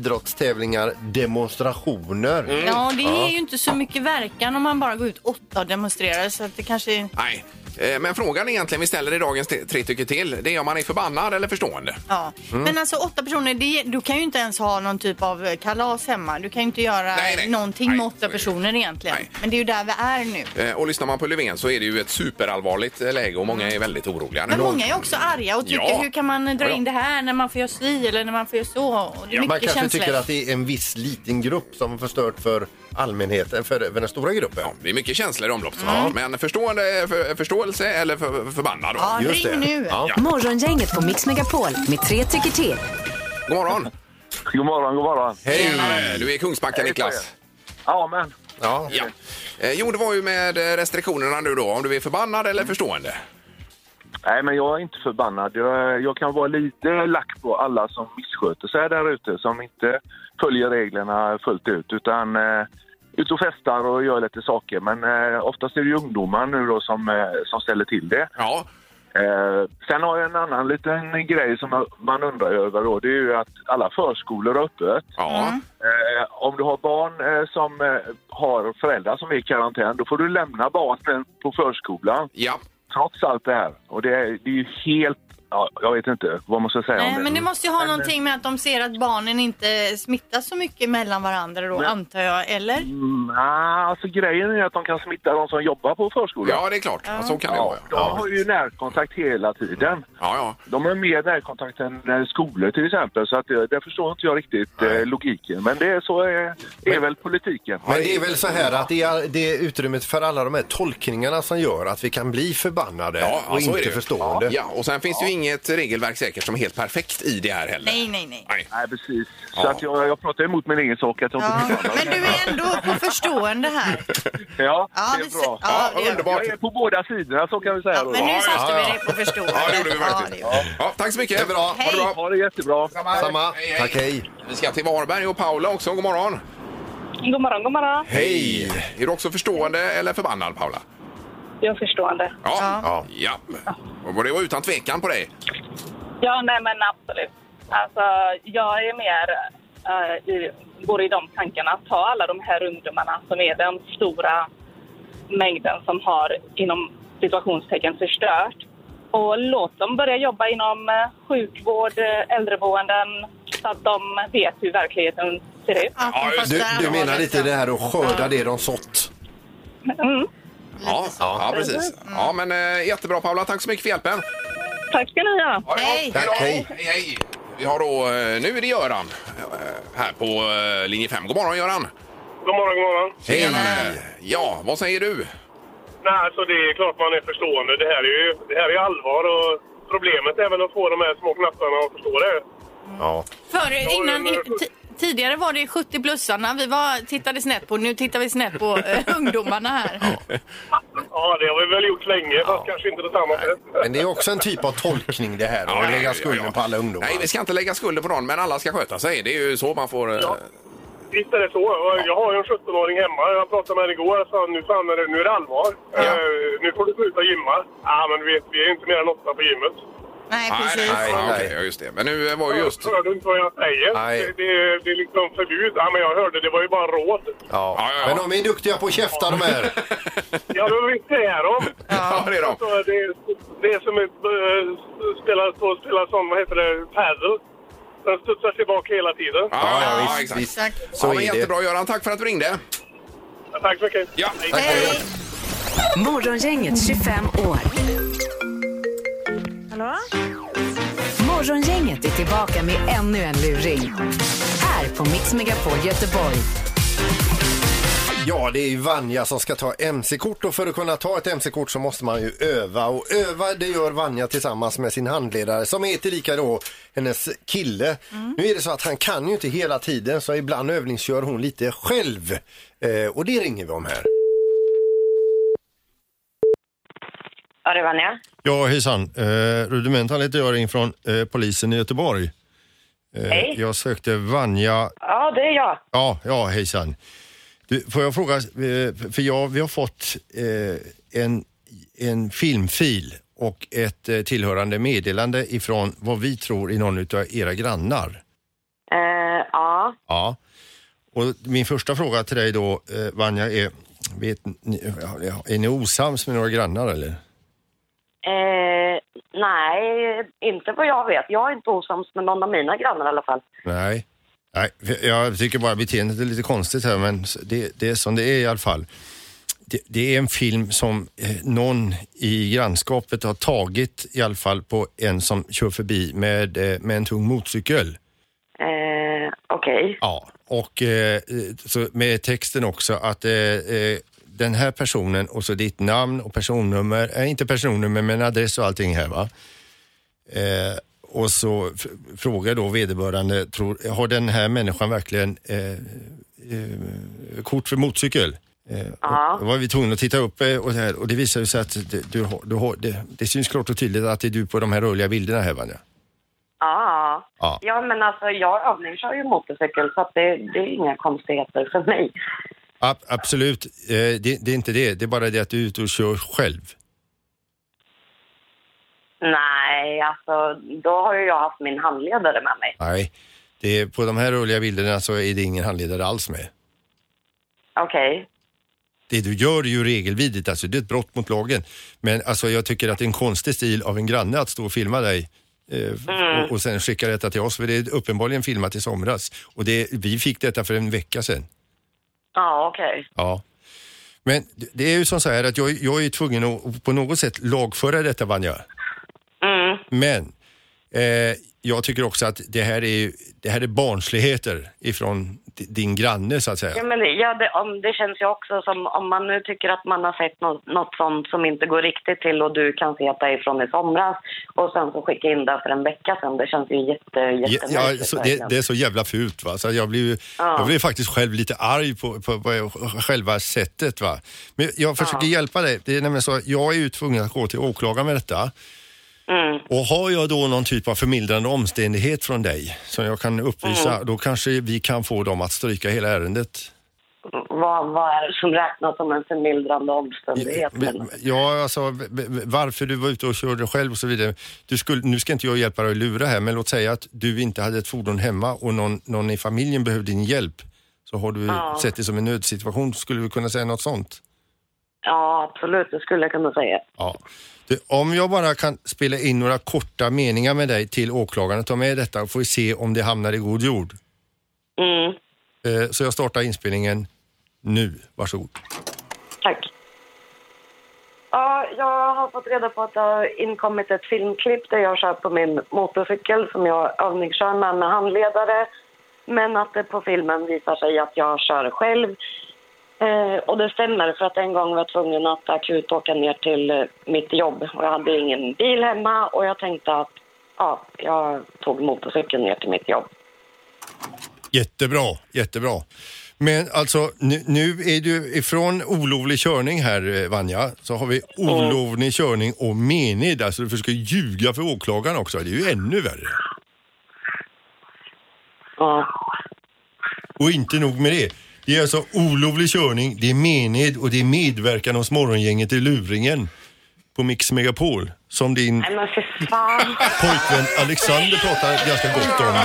[SPEAKER 4] idrottstävlingar, demonstrationer.
[SPEAKER 2] Mm.
[SPEAKER 3] Ja,
[SPEAKER 4] Mm.
[SPEAKER 3] det är ju inte så mycket verkan om man bara går ut åtta och demonstrerar. Så att det kanske är...
[SPEAKER 2] Nej, Eh, men frågan egentligen vi ställer i dagens te- Tre tycker till det är om man är förbannad eller förstående.
[SPEAKER 3] Ja. Men alltså åtta personer, det, du kan ju inte ens ha någon typ av kalas hemma. Du kan ju inte göra
[SPEAKER 2] Nej, nej.
[SPEAKER 3] någonting
[SPEAKER 2] Nej,
[SPEAKER 3] med
[SPEAKER 2] så är
[SPEAKER 3] åtta
[SPEAKER 2] det.
[SPEAKER 3] personer egentligen.
[SPEAKER 2] Nej.
[SPEAKER 3] Men det är ju där vi är nu.
[SPEAKER 2] Eh, Och lyssnar man på Löfven så är det ju ett superallvarligt eh, läge och många är väldigt oroliga.
[SPEAKER 3] Mm. Men
[SPEAKER 2] nu.
[SPEAKER 3] många är också arga och tycker
[SPEAKER 2] Ja.
[SPEAKER 3] hur kan man dra
[SPEAKER 2] Ja, ja.
[SPEAKER 3] in det här när man får göra si eller när man får göra så. Och det är
[SPEAKER 4] Man
[SPEAKER 3] mycket
[SPEAKER 4] kanske
[SPEAKER 3] känslor.
[SPEAKER 4] tycker att det är en viss liten grupp som har förstört för allmänheten, för, för den stora gruppen.
[SPEAKER 2] Ja, det är mycket känslor i omlopp.
[SPEAKER 3] Mm.
[SPEAKER 2] Ja. Men förstående, för, förståelse eller för, förbannad då?
[SPEAKER 3] Ja,
[SPEAKER 4] Just
[SPEAKER 3] ring
[SPEAKER 4] det.
[SPEAKER 3] nu.
[SPEAKER 4] Ja.
[SPEAKER 1] Morgongänget på Mix Megapol med tre tycker till.
[SPEAKER 2] God morgon!
[SPEAKER 7] God morgon, god morgon.
[SPEAKER 2] Hej! Du är i Kungsbacka, Niklas.
[SPEAKER 7] Ja, men.
[SPEAKER 4] Ja.
[SPEAKER 2] Ja. Eh, Jo, det var ju med eh, restriktionerna nu då, om du är förbannad eller förstående.
[SPEAKER 7] Nej, men jag är inte förbannad. Jag, jag kan vara lite lack på alla som missköter sig där ute, som inte följer reglerna fullt ut. Utan eh, ute och festar och gör lite saker. Men eh, oftast är det ju ungdomar nu då som, eh, som ställer till det.
[SPEAKER 2] Ja,
[SPEAKER 7] Eh, sen har jag en annan liten grej som man undrar över då. Det är ju att alla förskolor har öppet.
[SPEAKER 2] ja.
[SPEAKER 7] Eh, om du har barn eh, som eh, har föräldrar som är i karantän, då får du lämna barnen på förskolan
[SPEAKER 2] ja.
[SPEAKER 7] trots allt det här. Och det är, det är ju helt... Ja, jag vet inte vad man ska säga om
[SPEAKER 3] Nej,
[SPEAKER 7] det. eh,
[SPEAKER 3] men det måste ju ha någonting med att de ser att barnen inte smittas så mycket mellan varandra då, antar jag. Eller?
[SPEAKER 7] Mm, ah, alltså grejen är att de kan smitta de som jobbar på förskolan.
[SPEAKER 2] ja det är klart. Ja. Så kan det vara.
[SPEAKER 7] de har ju närkontakt hela tiden.
[SPEAKER 2] Ja, ja.
[SPEAKER 7] De har mer närkontakt än eh, skolor till exempel, så att, eh, där förstår inte jag riktigt eh, logiken. Men det är så eh, är väl politiken.
[SPEAKER 10] Men det är väl så här att det är, det är utrymmet för alla de här tolkningarna som gör att vi kan bli förbannade
[SPEAKER 2] Ja, ja,
[SPEAKER 10] och
[SPEAKER 2] så är
[SPEAKER 10] inte
[SPEAKER 2] det ju.
[SPEAKER 10] förstående.
[SPEAKER 2] Ja, och sen finns det ju inget regelverk säkert som är helt perfekt i det här heller.
[SPEAKER 3] Nej, nej, nej.
[SPEAKER 2] Nej.
[SPEAKER 7] Nej, precis. Så
[SPEAKER 2] Ja.
[SPEAKER 7] att jag, jag pratar emot min egen sak. Att jag
[SPEAKER 3] Ja.
[SPEAKER 7] inte blir förbannad.
[SPEAKER 3] Men du är ändå på förstående här.
[SPEAKER 7] ja,
[SPEAKER 3] Ja,
[SPEAKER 7] det
[SPEAKER 3] vi
[SPEAKER 7] är
[SPEAKER 3] ser-
[SPEAKER 7] bra.
[SPEAKER 3] ja, det gör vi.
[SPEAKER 2] underbart.
[SPEAKER 7] Jag är på båda sidorna, så kan vi säga.
[SPEAKER 3] Ja,
[SPEAKER 7] då.
[SPEAKER 3] men nu satte
[SPEAKER 10] ja,
[SPEAKER 3] vi
[SPEAKER 10] ja.
[SPEAKER 3] dig på förstående.
[SPEAKER 2] Ja, det gjorde vi faktiskt.
[SPEAKER 3] Ja, det
[SPEAKER 2] Ja, tack så mycket.
[SPEAKER 10] Det är bra.
[SPEAKER 2] Ha det bra.
[SPEAKER 7] Ha det jättebra.
[SPEAKER 10] Samma.
[SPEAKER 2] Hej, hej.
[SPEAKER 10] Tack, hej.
[SPEAKER 2] Vi ska till Varberg och Paula också. God morgon.
[SPEAKER 11] God morgon, god morgon.
[SPEAKER 2] Hej! Är du också förstående eller förbannad, Paula?
[SPEAKER 11] Jag är förstående.
[SPEAKER 2] Ja.
[SPEAKER 10] Ja.
[SPEAKER 2] ja. Och det var utan tvekan på dig.
[SPEAKER 11] Ja, nej men absolut. Alltså, jag är mer, eh, i, går i de tankarna. Ta alla de här ungdomarna som är den stora mängden som har inom situationstecken förstört. Och låt dem börja jobba inom eh, sjukvård, eh, äldreboenden så att de vet hur verkligheten ser ut.
[SPEAKER 3] Att de
[SPEAKER 2] Ja,
[SPEAKER 3] fast
[SPEAKER 10] Du,
[SPEAKER 3] där
[SPEAKER 10] du
[SPEAKER 3] har
[SPEAKER 10] menar
[SPEAKER 3] det
[SPEAKER 10] lite
[SPEAKER 3] så.
[SPEAKER 10] det här att skörda det de sått?
[SPEAKER 11] Mm.
[SPEAKER 2] Ja, ja precis. Ja, men eh, jättebra, Paula. Tack så mycket för hjälpen.
[SPEAKER 11] Tack ska ni ha.
[SPEAKER 2] Ja, ja.
[SPEAKER 3] Hej.
[SPEAKER 2] Hej, då.
[SPEAKER 10] Hej.
[SPEAKER 2] hej! hej. Vi har då, eh, nu är det Göran eh, här på eh, linje 5. God morgon Göran!
[SPEAKER 7] God morgon, god morgon.
[SPEAKER 2] Tjena. Ja, vad säger du?
[SPEAKER 7] Nej, alltså det är klart man är förstående. Det här är ju det här är allvar och problemet är väl att få de här små knattarna att förstå det.
[SPEAKER 10] Ja.
[SPEAKER 3] Förr, innan, i- ti- tidigare var det 70-plussarna vi var, tittade snett på. Nu tittar vi snett på eh, ungdomarna här.
[SPEAKER 7] Ja, det har vi väl gjort länge, fast kanske inte på samma sätt.
[SPEAKER 10] Men det är också en typ av tolkning det här, att lägga skulden på alla ungdomar.
[SPEAKER 2] Nej, vi ska inte lägga skulden på någon, men alla ska sköta sig. Det är ju så man får... eh,
[SPEAKER 7] Visst är det så. Och Jag har ju en 17-åring hemma. Jag pratade med henne igår och sa nu fan är det, nu är det allvar.
[SPEAKER 2] Ja.
[SPEAKER 7] Eh, nu får du sluta gymma. Ja, men du vet, vi är inte mer än åtta på gymmet.
[SPEAKER 3] Nej,
[SPEAKER 2] Nej,
[SPEAKER 3] precis.
[SPEAKER 2] nej, nej,
[SPEAKER 10] Nej,
[SPEAKER 2] okej,
[SPEAKER 10] nej.
[SPEAKER 2] ja, just det. Men nu eh, var ju just...
[SPEAKER 7] Hör du inte vad jag säger?
[SPEAKER 10] Nej.
[SPEAKER 7] Det, det, det är liksom förbud. Ja, men jag hörde, det var ju bara råd.
[SPEAKER 10] Ja.
[SPEAKER 2] Ja, ja, ja.
[SPEAKER 10] Men de är duktiga på att käfta de här.
[SPEAKER 7] Ja, men visst är de.
[SPEAKER 2] Ja, det är de.
[SPEAKER 7] Så det, är- det är som att eh, spela, stå och spela sån, vad heter det, padel. Den studsar tillbaka hela tiden.
[SPEAKER 2] Ja, ja,
[SPEAKER 10] visst,
[SPEAKER 2] exakt.
[SPEAKER 10] visst.
[SPEAKER 3] Exakt.
[SPEAKER 10] Så
[SPEAKER 2] ja,
[SPEAKER 10] är
[SPEAKER 2] men
[SPEAKER 10] det.
[SPEAKER 2] jättebra Göran, tack för att du ringde.
[SPEAKER 7] Tack så mycket.
[SPEAKER 2] Ja.
[SPEAKER 3] Hej.
[SPEAKER 1] Morgongänget 25 år. Morgongänget är tillbaka med ännu en luring. Här på Mix Megapol Göteborg.
[SPEAKER 10] Ja, det är ju Vanja som ska ta MC-kort och för att kunna ta ett MC-kort så måste man ju öva och öva det gör Vanja tillsammans med sin handledare som är tillika då hennes kille. Nu är det så att han kan ju inte hela tiden så ibland övningskör hon lite själv eh, och det ringer vi om här.
[SPEAKER 11] Ja, det var ni.
[SPEAKER 4] Ja, hejsan. Eh, Rudimental heter jag, ringer från eh, polisen i Göteborg. Eh,
[SPEAKER 11] Hej.
[SPEAKER 4] Jag sökte Vanja.
[SPEAKER 11] Ja, det är jag.
[SPEAKER 4] Ja, ja hejsan. Du, får jag fråga, eh, för jag, vi har fått eh, en, en filmfil och ett eh, tillhörande meddelande ifrån vad vi tror är någon utav era grannar.
[SPEAKER 11] Eh, ja.
[SPEAKER 4] Ja. Och min första fråga till dig då, eh, Vanja, är, vet, ni, är ni osams med några grannar eller?
[SPEAKER 11] Eh, nej, inte vad jag vet. Jag är inte osams med någon av mina grannar i alla fall.
[SPEAKER 4] Nej. Nej, jag tycker bara beteendet är lite konstigt här, men det, det är som det är i alla fall. Det, det är en film som eh, någon i grannskapet har tagit i alla fall på en som kör förbi med, eh, med en tung motorcykel.
[SPEAKER 11] Eh, Okej.
[SPEAKER 4] Ja. Och eh, så med texten också att eh, eh, den här personen och så ditt namn och personnummer, eh, inte personnummer men adress och allting här va. Eh, och så f- frågar då vederbörande, tror, har den här människan verkligen eh, eh, kort för motorcykel? Eh,
[SPEAKER 11] Ja.
[SPEAKER 4] och, och var vi tvungna att titta upp eh, och det, här, och det visar ju sig att det, du, har- du har, det, det syns klart och tydligt att det är du på de här rörliga bilderna här Vanja.
[SPEAKER 11] Ja.
[SPEAKER 4] Ja.
[SPEAKER 11] Ja, men alltså jag övningskör ju motorcykel så att det, det är inga konstigheter för mig.
[SPEAKER 4] Ab- absolut, eh, det, det är inte det. Det är bara det att du är ute och kör själv.
[SPEAKER 12] Nej, alltså då har ju jag haft min handledare med mig.
[SPEAKER 4] Nej, det är, på de här rörliga bilderna så är det ingen handledare alls med.
[SPEAKER 12] Okej.
[SPEAKER 4] Det du gör är ju regelvidrigt, alltså det är ett brott mot lagen. Men alltså jag tycker att det är en konstig stil av en granne att stå och filma dig eh, och, och sen skicka detta till oss, för det är uppenbarligen filmat i somras. Och det, vi fick detta för en vecka sedan.
[SPEAKER 12] Ja, okej.
[SPEAKER 4] Ja. Men det- det är ju som så här att jag, jag är ju tvungen att på något sätt lagföra detta Vanja.
[SPEAKER 11] Mm.
[SPEAKER 4] Men eh, jag tycker också att det här är, ju- det här är barnsligheter ifrån di- din granne så att säga.
[SPEAKER 12] Ja, men det, ja, det, om, det känns ju också som om man nu tycker att man har sett något, något sånt som inte går riktigt till och du kan se att det är från i somras och sen så skicka in det för en vecka sen. Det känns ju jätte,
[SPEAKER 4] Ja,
[SPEAKER 12] jättemärkligt.
[SPEAKER 4] ja, så det,
[SPEAKER 12] verkligen.
[SPEAKER 4] det är så jävla fult va, så jag blir, ju-
[SPEAKER 12] Ja.
[SPEAKER 4] jag blir faktiskt själv lite arg på, på, på själva sättet va. Men jag försöker hjälpa dig, det är nämligen så att jag är ju tvungen att gå till åklagaren med detta.
[SPEAKER 12] Mm.
[SPEAKER 4] Och har jag då någon typ av förmildrande omständighet från dig som jag kan uppvisa,
[SPEAKER 12] Mm.
[SPEAKER 4] då kanske vi kan få dem att stryka hela ärendet.
[SPEAKER 12] Vad, vad är det som räknas som en förmildrande omständighet? eller?
[SPEAKER 4] Ja, alltså v- v- varför du var ute och körde själv och så vidare. Du skulle, nu ska inte jag hjälpa dig att lura här, men låt säga att du inte hade ett fordon hemma och någon, någon i familjen behövde din hjälp. Så har du
[SPEAKER 12] Ja.
[SPEAKER 4] sett det som en nödsituation, skulle du kunna säga något sånt?
[SPEAKER 12] Ja, absolut, det skulle jag kunna säga.
[SPEAKER 4] Ja. Du, om jag bara kan spela in några korta meningar med dig till åklagaren, ta med detta och får vi se om det hamnar i god jord.
[SPEAKER 12] Mm.
[SPEAKER 4] Eh, Så jag startar inspelningen nu. Varsågod.
[SPEAKER 12] Tack. Ja, jag har fått reda på att det har inkommit ett filmklipp där jag kör på min motorcykel som jag övningskör med en handledare. Men att det på filmen visar sig att jag kör själv. Eh, och det stämmer för att en gång var jag tvungen att akut åka ner till eh, mitt jobb och jag hade ingen bil hemma och jag tänkte att ja, jag tog motorcykeln ner till mitt jobb.
[SPEAKER 4] Jättebra, jättebra. Men alltså nu, nu är du ifrån olovlig körning här eh, Vanja, så har vi olovlig körning och mened, alltså du försöker ljuga för åklagaren också, det är ju ännu värre.
[SPEAKER 12] Ja.
[SPEAKER 4] Och inte nog med det, det är alltså olovlig körning, det är mened och det är medverkan hos morgongänget i luringen på Mix Megapol som din
[SPEAKER 12] Nej men för fan!
[SPEAKER 4] pojkvän Alexander pratar ganska gott om.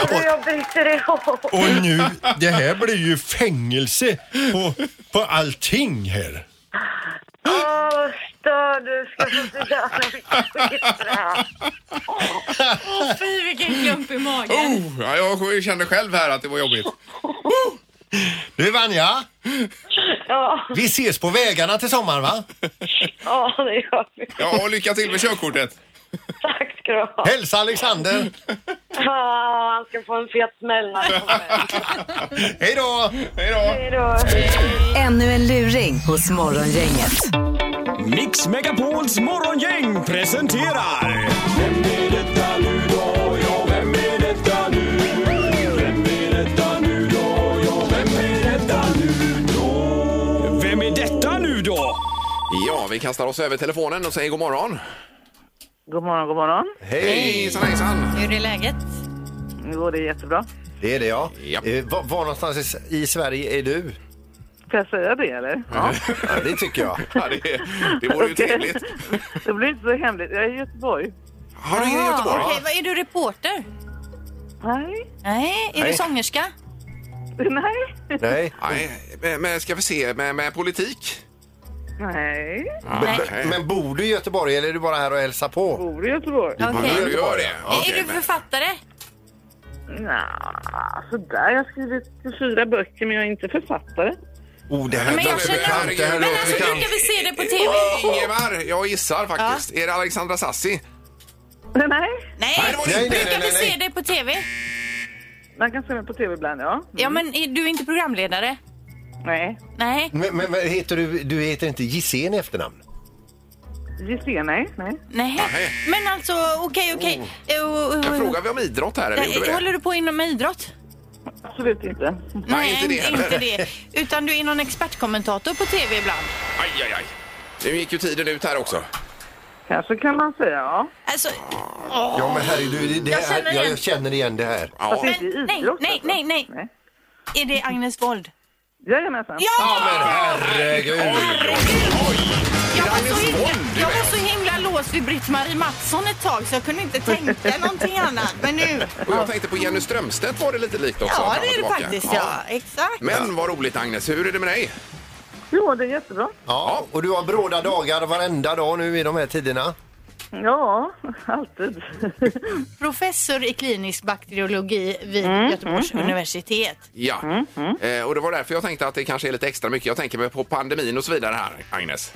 [SPEAKER 12] Alltså, jag bryter ihop!
[SPEAKER 4] Och nu, det här blir ju fängelse på, på allting här.
[SPEAKER 12] Åh, vad störd du ska få så jävla mycket skit för det här.
[SPEAKER 3] Åh fy vilken klump i magen.
[SPEAKER 2] Oh, ja, jag kände själv här att det var jobbigt.
[SPEAKER 4] Du Vanja,
[SPEAKER 12] Ja,
[SPEAKER 4] vi ses på vägarna till sommaren va?
[SPEAKER 12] ja, det gör vi.
[SPEAKER 2] Ja, och lycka till med körkortet.
[SPEAKER 12] Tack ska du ha.
[SPEAKER 4] Hälsa Alexander.
[SPEAKER 12] Ja, han ska få en fet smäll när han kommer.
[SPEAKER 4] Hej då!
[SPEAKER 2] Hej då!
[SPEAKER 12] Hej då.
[SPEAKER 1] Ännu en luring hos Morgongänget.
[SPEAKER 6] Mix Megapols morgongäng presenterar... Vem är detta nu då? Ja, vem är detta nu? Vem är detta nu då? Ja, vem är detta nu då? Vem är detta nu då?
[SPEAKER 2] Ja, vi kastar oss över telefonen och säger god morgon.
[SPEAKER 12] God morgon, god morgon.
[SPEAKER 2] Hej! Hejsan, hejsan!
[SPEAKER 3] Hur är läget?
[SPEAKER 12] Nu går det jättebra.
[SPEAKER 5] Det är det ja.
[SPEAKER 2] Ja.
[SPEAKER 5] Eh, var, var någonstans i, S- i Sverige är du?
[SPEAKER 12] Ska jag säga det eller? Ja.
[SPEAKER 5] Ja, det tycker jag.
[SPEAKER 2] Ja, det, det vore ju
[SPEAKER 12] Okej.
[SPEAKER 2] trevligt.
[SPEAKER 12] Det blir inte så hemligt. Jag är i Göteborg.
[SPEAKER 2] Har du ingen i Göteborg?
[SPEAKER 3] Okej, vad är du reporter?
[SPEAKER 12] Nej,
[SPEAKER 3] Nej, är
[SPEAKER 5] Nej.
[SPEAKER 3] du sångerska?
[SPEAKER 12] nej,
[SPEAKER 5] Nej.
[SPEAKER 2] Nej, men- men ska vi se, med, med politik?
[SPEAKER 12] nej.
[SPEAKER 3] Nej.
[SPEAKER 2] Nej.
[SPEAKER 5] Men bor du i Göteborg eller är du bara här och hälsar på?
[SPEAKER 12] Bor i Göteborg?
[SPEAKER 2] Ja,
[SPEAKER 3] Okej.
[SPEAKER 2] du gör det? Okej,
[SPEAKER 3] Är du
[SPEAKER 2] men-
[SPEAKER 3] författare?
[SPEAKER 12] Nja, sådär. Jag har skrivit fyra böcker men jag är inte författare.
[SPEAKER 5] Oh, det här
[SPEAKER 3] Men jag
[SPEAKER 5] låter
[SPEAKER 3] känner...
[SPEAKER 5] bekant. Det här
[SPEAKER 3] Men
[SPEAKER 5] låter
[SPEAKER 3] alltså
[SPEAKER 5] bekant.
[SPEAKER 3] brukar vi se det på TV?
[SPEAKER 2] Ingemar, jag gissar faktiskt. Är det Alexandra Sassi?
[SPEAKER 12] Nej,
[SPEAKER 2] Nej,
[SPEAKER 3] Nej,
[SPEAKER 2] det var det
[SPEAKER 5] Nej, nej,
[SPEAKER 3] brukar
[SPEAKER 5] nej,
[SPEAKER 3] vi
[SPEAKER 5] nej.
[SPEAKER 3] se det på TV?
[SPEAKER 12] man kan se mig på tv ibland ja.
[SPEAKER 3] Ja, men är du inte programledare?
[SPEAKER 12] Nej,
[SPEAKER 3] Nej.
[SPEAKER 5] Men, men, men heter du, du heter inte Gisén i efternamn?
[SPEAKER 12] Gisé, nej, nej.
[SPEAKER 3] Nej.
[SPEAKER 2] Nej.
[SPEAKER 3] Men alltså, okej, okej. Eh, oh, oh,
[SPEAKER 2] Jag
[SPEAKER 3] oh.
[SPEAKER 2] frågar vi om idrott här, eller
[SPEAKER 3] Nej,
[SPEAKER 2] gjorde vi det?
[SPEAKER 3] Håller du på inom idrott?
[SPEAKER 12] Absolut inte.
[SPEAKER 2] inte det heller.
[SPEAKER 3] inte det. Utan du är någon expertkommentator på TV ibland.
[SPEAKER 2] Aj, aj, aj. Nu gick ju tiden ut här också.
[SPEAKER 12] Kanske kan man säga ja.
[SPEAKER 3] Alltså,
[SPEAKER 5] Ja men herregud, det, det
[SPEAKER 3] Jag känner
[SPEAKER 5] här,
[SPEAKER 3] igen.
[SPEAKER 5] jag känner igen det här.
[SPEAKER 2] Ja,
[SPEAKER 12] Fast inte i
[SPEAKER 3] nej,
[SPEAKER 12] idrott,
[SPEAKER 3] nej,
[SPEAKER 12] alltså.
[SPEAKER 3] nej, nej. Är det Agnes Wold?
[SPEAKER 5] Jajamensan.
[SPEAKER 3] Ja!
[SPEAKER 12] Herregud!
[SPEAKER 3] Jag var, så himla, jag var så himla låst vid Britt-Marie Mattsson ett tag så jag kunde inte tänka någonting annat. Men nu...
[SPEAKER 2] Och jag tänkte på Jenny Strömstedt var det lite likt också.
[SPEAKER 3] Ja,
[SPEAKER 2] fram och
[SPEAKER 3] det är det
[SPEAKER 2] tillbaka.
[SPEAKER 3] faktiskt. Ja, exakt.
[SPEAKER 2] Men vad roligt Agnes, hur är det med dig?
[SPEAKER 5] Jo, det är jättebra.
[SPEAKER 4] Ja, och du har bråda dagar varenda dag nu i de här tiderna.
[SPEAKER 5] Ja, alltid.
[SPEAKER 3] Professor i klinisk bakteriologi vid
[SPEAKER 12] Mm,
[SPEAKER 3] Göteborgs universitet.
[SPEAKER 2] Ja,
[SPEAKER 5] Mm,
[SPEAKER 2] Eh, och det var därför jag tänkte att det kanske är lite extra mycket. Jag tänker på pandemin och så vidare här, Agnes.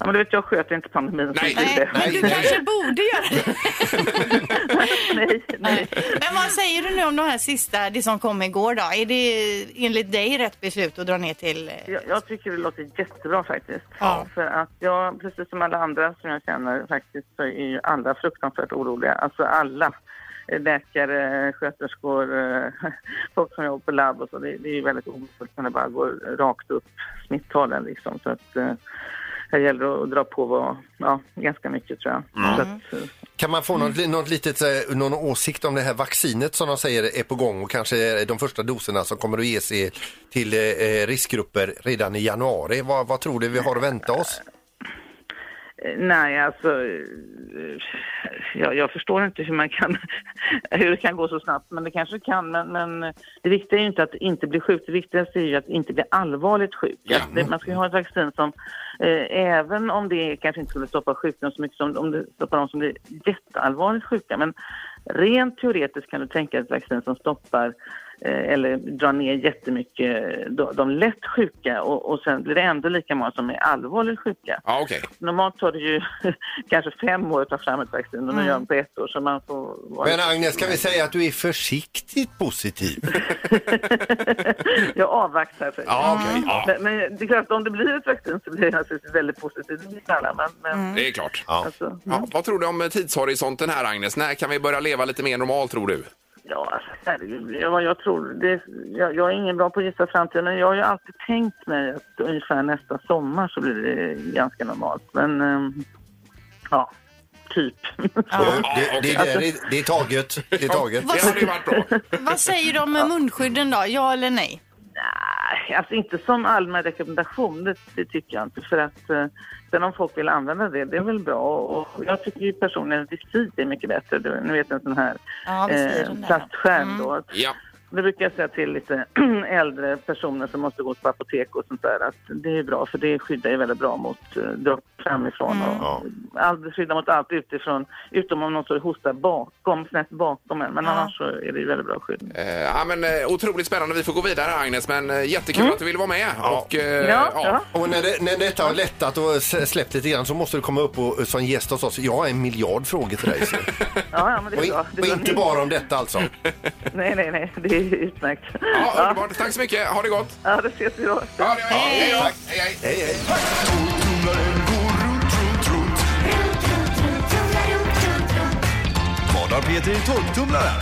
[SPEAKER 5] Ja, men du vet, jag sköter inte pandemin.
[SPEAKER 2] Nej.
[SPEAKER 5] så det är
[SPEAKER 3] Nej, men
[SPEAKER 5] det.
[SPEAKER 3] du
[SPEAKER 4] nej.
[SPEAKER 3] kanske borde göra det.
[SPEAKER 5] nej, nej.
[SPEAKER 3] Men vad säger du nu om de här sista, det som kom igår då? Är det enligt dig rätt beslut att dra ner till... eh,
[SPEAKER 5] Jag, jag tycker det låter jättebra faktiskt.
[SPEAKER 3] Ja.
[SPEAKER 5] För att jag, precis som alla andra som jag känner faktiskt, så är ju alla fruktansvärt oroliga. Alltså alla. Eh, Läkare, sköterskor, eh, folk som jobbar på labb och så. Det, det är ju väldigt omotiverat när det bara går rakt upp smittalen liksom. Så att eh, här gäller det att dra på vad, ja, ganska mycket tror jag. Så
[SPEAKER 2] Mm.
[SPEAKER 5] att, eh,
[SPEAKER 4] Kan man få något, li- något litet, eh, någon åsikt om det här vaccinet som de säger är på gång och kanske de första doserna som kommer att ges i- till eh, eh, riskgrupper redan i januari? Vad, vad tror du vi har att vänta oss?
[SPEAKER 5] Eh, Nej, alltså... eh, Jag, jag förstår inte hur, man kan, hur det kan gå så snabbt, men det kanske kan. Men, men eh, det viktiga är ju inte att inte bli sjuk, det viktigaste är ju att inte bli allvarligt sjuk. Att det, man ska ju ha ett vaccin som, eh, även om det kanske inte skulle stoppa sjukdom så mycket som om det stoppar de som blir jätteallvarligt sjuka, men rent teoretiskt kan du tänka dig ett vaccin som stoppar eh, eller drar ner jättemycket eh, de, de lätt sjuka och, och sen blir det ändå lika många som är allvarligt sjuka.
[SPEAKER 2] Ja, okej.
[SPEAKER 5] Normalt tar det ju kanske fem år att ta fram ett vaccin och nu gör de på ett år så man får... Vara...
[SPEAKER 4] Men Agnes, kan vi säga att du är försiktigt positiv?
[SPEAKER 5] jag avvaktar. För...
[SPEAKER 2] Ja, okej. Ja,
[SPEAKER 5] Men, men det är klart, om det blir ett vaccin så blir det naturligtvis väldigt positivt. Det vet alla, men... men
[SPEAKER 2] det är klart.
[SPEAKER 5] Alltså,
[SPEAKER 2] Ja, vad tror du om tidshorisonten här, Agnes? När kan vi börja leva lite mer normalt, tror du?
[SPEAKER 5] ja, alltså, herregud, jag, jag tror... Det, jag, jag är ingen bra på att gissa framtiden, men jag har ju alltid tänkt mig att ungefär nästa sommar så blir det ganska normalt. Men, ehm, ja, typ.
[SPEAKER 4] Det, det, är där, det, det är taget. Det är taget.
[SPEAKER 2] Det hade ju varit bra.
[SPEAKER 3] Vad säger du om munskydden då? Ja eller nej?
[SPEAKER 5] Nej, alltså inte som allmän rekommendation, det, det tycker jag inte. För att eh, sen om folk vill använda det, det är väl bra. Och jag tycker ju personligen att visir är mycket bättre. Du, ni vet en sån här
[SPEAKER 3] Ja,
[SPEAKER 5] eh,
[SPEAKER 3] visiren där. Mm.
[SPEAKER 5] plastskärm då. Att-
[SPEAKER 2] Ja.
[SPEAKER 5] Det brukar jag säga till lite äldre personer som måste gå på apotek och sånt där att det är bra för det skyddar ju väldigt bra mot eh, dropp framifrån. Och, allt, det skyddar mot allt utifrån, utom om någon står och hostar bakom, snett bakom en. Men annars så är det ju väldigt bra skydd.
[SPEAKER 2] Eh, ja, men, eh, otroligt spännande. Vi får gå vidare, Agnes. Men eh, jättekul att du ville vara med. Och, eh,
[SPEAKER 5] Mm. Ja, ja.
[SPEAKER 4] Och när, det, när detta har lättat och s- släppt lite grann så måste du komma upp och, eh, som gäst hos oss. Jag har en miljard frågor till dig. så.
[SPEAKER 5] Ja, ja, men det
[SPEAKER 4] Och,
[SPEAKER 5] är
[SPEAKER 4] in,
[SPEAKER 5] bra. Det
[SPEAKER 4] och
[SPEAKER 5] är bra.
[SPEAKER 4] inte bara om detta alltså.
[SPEAKER 5] Nej, nej, nej. Det är utmärkt.
[SPEAKER 2] ja, underbart. Tack så mycket. Ha det gott.
[SPEAKER 5] Ja, det ses vi då.
[SPEAKER 2] Ja, det gör jag. Hej, då. hej, hej.
[SPEAKER 4] Hej, hej.
[SPEAKER 6] Vad har Peter i tolvtumlaren?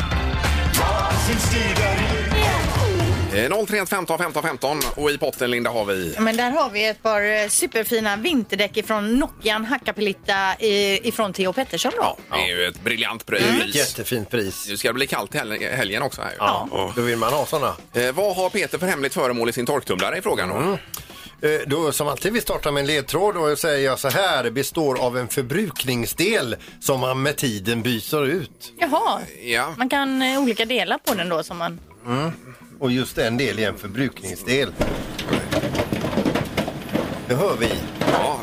[SPEAKER 2] Eh, 031 15 15 15 och i potten, Linda, har vi...
[SPEAKER 4] Mm.
[SPEAKER 3] Men där har vi ett par eh, superfina vinterdäck ifrån Nokian Hakkapeliitta i- ifrån Theo Pettersson då.
[SPEAKER 2] Det är ju ett briljant pris.
[SPEAKER 4] Jättefint pris.
[SPEAKER 2] Nu ska det bli kallt i hel- helgen också. Här. ju.
[SPEAKER 4] Ja, då vill man ha sådana.
[SPEAKER 2] Eh, vad har Peter för hemligt föremål i sin torktumlare i frågan? Då?
[SPEAKER 4] Eh, Då, som alltid vi startar med en ledtråd och säger jag så här, består av en förbrukningsdel som man med tiden byter ut.
[SPEAKER 3] Jaha,
[SPEAKER 2] Ja.
[SPEAKER 3] man kan eh, olika delar på den då som man...
[SPEAKER 4] Och just en del är en förbrukningsdel. Det hör vi.
[SPEAKER 2] Ja,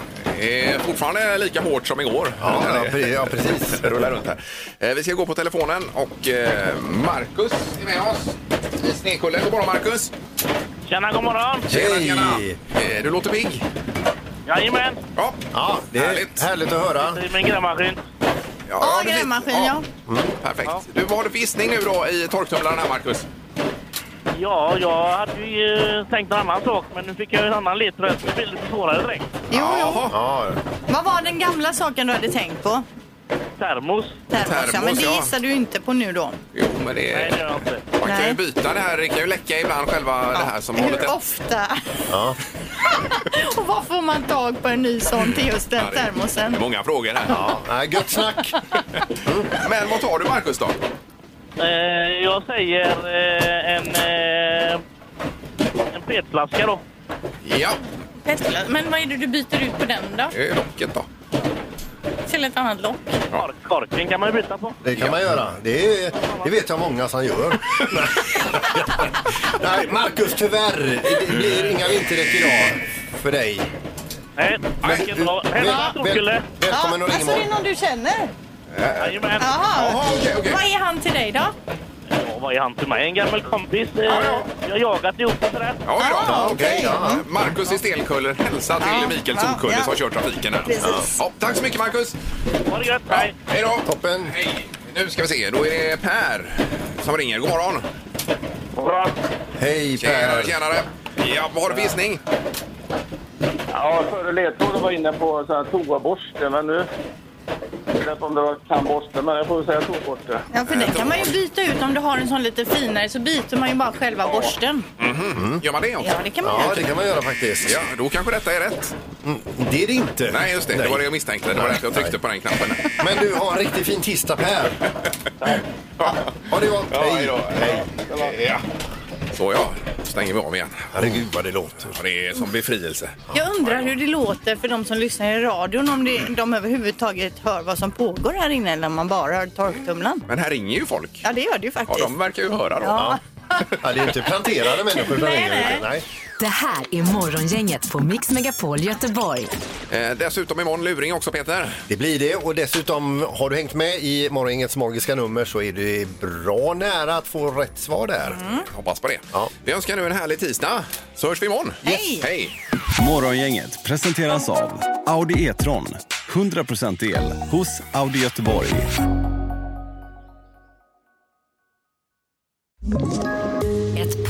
[SPEAKER 2] eh, fortfarande lika hårt som igår.
[SPEAKER 4] Ja,
[SPEAKER 2] Eller-
[SPEAKER 4] ja, pre- ja precis.
[SPEAKER 2] Det rullar runt här. Eh, vi ska gå på telefonen och eh, Marcus är med oss i Snekulle. God morgon Marcus!
[SPEAKER 5] Tjena, god morgon!
[SPEAKER 2] Tjena,
[SPEAKER 4] Hej.
[SPEAKER 2] tjena. Eh, du låter pigg.
[SPEAKER 5] Jajamän,
[SPEAKER 2] Ja,
[SPEAKER 4] Ja, det är
[SPEAKER 2] Härligt.
[SPEAKER 4] härligt, härligt att höra.
[SPEAKER 5] det är min grävmaskin.
[SPEAKER 2] ja,
[SPEAKER 3] Ja,
[SPEAKER 2] du fick-
[SPEAKER 3] grävmaskin ja.
[SPEAKER 2] Perfekt. Du, vad har du för gissning nu då i torktumlaren här Marcus?
[SPEAKER 5] Ja, jag hade ju eh, tänkt en annan sak, men nu fick jag en annan ledtråd. Det blir lite svårare direkt.
[SPEAKER 3] Jo, jo.
[SPEAKER 2] Jaha.
[SPEAKER 4] Ja,
[SPEAKER 3] Vad var den gamla saken du hade tänkt på?
[SPEAKER 5] Termos?
[SPEAKER 3] Termos, ja. Men det
[SPEAKER 2] ja.
[SPEAKER 3] gissar du inte på nu då.
[SPEAKER 2] Jo, men det
[SPEAKER 5] Nej, det gör
[SPEAKER 2] är...
[SPEAKER 5] jag inte.
[SPEAKER 2] Man kan ju
[SPEAKER 3] Nej.
[SPEAKER 2] byta det här. Det kan ju läcka ibland själva det här som håller
[SPEAKER 3] Hur
[SPEAKER 2] tätt.
[SPEAKER 3] ofta? Och var får man tag på en ny sån till just den
[SPEAKER 2] Ja, det är-
[SPEAKER 3] termosen?
[SPEAKER 2] det är Många frågor här.
[SPEAKER 4] ja. Nej, gött snack.
[SPEAKER 2] Men vad tar du Marcus då?
[SPEAKER 5] Eh, jag säger eh, en eh,
[SPEAKER 7] petflaska då.
[SPEAKER 2] Ja,
[SPEAKER 3] Petflaska. Men vad är det du byter ut på den då?
[SPEAKER 2] det är locket då.
[SPEAKER 3] Till ett annat lock?
[SPEAKER 7] Kork, korken kan man ju byta på.
[SPEAKER 4] Det kan man göra. Det, är, det vet jag många som gör. Nej, Marcus, tyvärr. Det blir inga vinterdäck idag för dig.
[SPEAKER 7] Nej, det ska inte vara. Hälsa
[SPEAKER 4] väl-
[SPEAKER 7] Torkille!
[SPEAKER 4] välkommen att ringa imorgon.
[SPEAKER 3] alltså, någon du känner?
[SPEAKER 7] Jajamän!
[SPEAKER 3] Jaha.
[SPEAKER 2] Jaha, okej, okej.
[SPEAKER 3] Vad är han till dig då?
[SPEAKER 7] Ja, Vad är han till mig? En gammal kompis. Eh, Vi har jagat ihop och sådär.
[SPEAKER 2] Ja, ja.
[SPEAKER 3] Ah,
[SPEAKER 2] okej.
[SPEAKER 4] Mm.
[SPEAKER 3] okej.
[SPEAKER 2] Ja. Marcus i Stelkuller hälsa till
[SPEAKER 3] Ja,
[SPEAKER 2] Mikael
[SPEAKER 3] ja,
[SPEAKER 2] Solkulle
[SPEAKER 3] ja.
[SPEAKER 2] som kör trafiken här.
[SPEAKER 3] Precis.
[SPEAKER 2] Ja, tack så mycket Marcus!
[SPEAKER 7] Ha det gött!
[SPEAKER 2] Ja,
[SPEAKER 7] Hej!
[SPEAKER 2] hej då!
[SPEAKER 4] Toppen.
[SPEAKER 2] Hej! Nu ska vi se, då är det Per som ringer. God morgon!
[SPEAKER 7] Bra.
[SPEAKER 4] Hej
[SPEAKER 2] Tjenare,
[SPEAKER 4] Per.
[SPEAKER 2] tjenare! Ja, vad har du för gissning?
[SPEAKER 7] Ja, före ledtråden var inne på så här toaborste, men nu... Jag vet inte om det var tandborste, men jag får väl säga toaborste.
[SPEAKER 3] Ja, för den kan man ju byta ut om du har en sån lite finare så byter man ju bara själva borsten.
[SPEAKER 2] Mhm. Gör man det också?
[SPEAKER 3] Ja, det kan man
[SPEAKER 4] Mm. Ja,
[SPEAKER 3] göra.
[SPEAKER 4] det kan man göra faktiskt. Mm,
[SPEAKER 2] Ja, då kanske detta är rätt.
[SPEAKER 4] Det är det inte.
[SPEAKER 2] Nej, just det. Det var det jag misstänkte. Det var därför jag tryckte på den knappen.
[SPEAKER 4] Men du har en riktigt fin tisdag Per. Ha det gott.
[SPEAKER 2] Ja, hej då. Ja. Så ja, stänger vi av igen.
[SPEAKER 4] Herregud vad det låter.
[SPEAKER 2] Ja, Det är som befrielse.
[SPEAKER 3] Jag undrar hur det låter för de som lyssnar i radion om det, de överhuvudtaget hör vad som pågår här inne eller om man bara hör torktumlaren.
[SPEAKER 2] Men här ringer ju folk.
[SPEAKER 3] Ja, det gör det ju
[SPEAKER 2] Ja,
[SPEAKER 3] faktiskt.
[SPEAKER 2] de verkar ju höra då.
[SPEAKER 3] Ja.
[SPEAKER 4] Ja, det är inte planterade människor. som
[SPEAKER 3] Nej,
[SPEAKER 4] ringer,
[SPEAKER 3] nej.
[SPEAKER 4] utan- nej.
[SPEAKER 1] Det här är Morgongänget på Mix Megapol Göteborg.
[SPEAKER 2] Eh, dessutom imorgon luring också, Peter.
[SPEAKER 4] Det blir det och dessutom har du hängt med i morgongängets magiska nummer så är du bra nära att få rätt svar där.
[SPEAKER 2] Mm. Hoppas på det.
[SPEAKER 4] Ja.
[SPEAKER 2] Vi önskar nu en härlig tisdag. Så hörs vi imorgon.
[SPEAKER 3] Hej.
[SPEAKER 2] Hej!
[SPEAKER 13] Morgongänget presenteras av Audi E-tron. 100% el hos Audi Göteborg.
[SPEAKER 14] Ett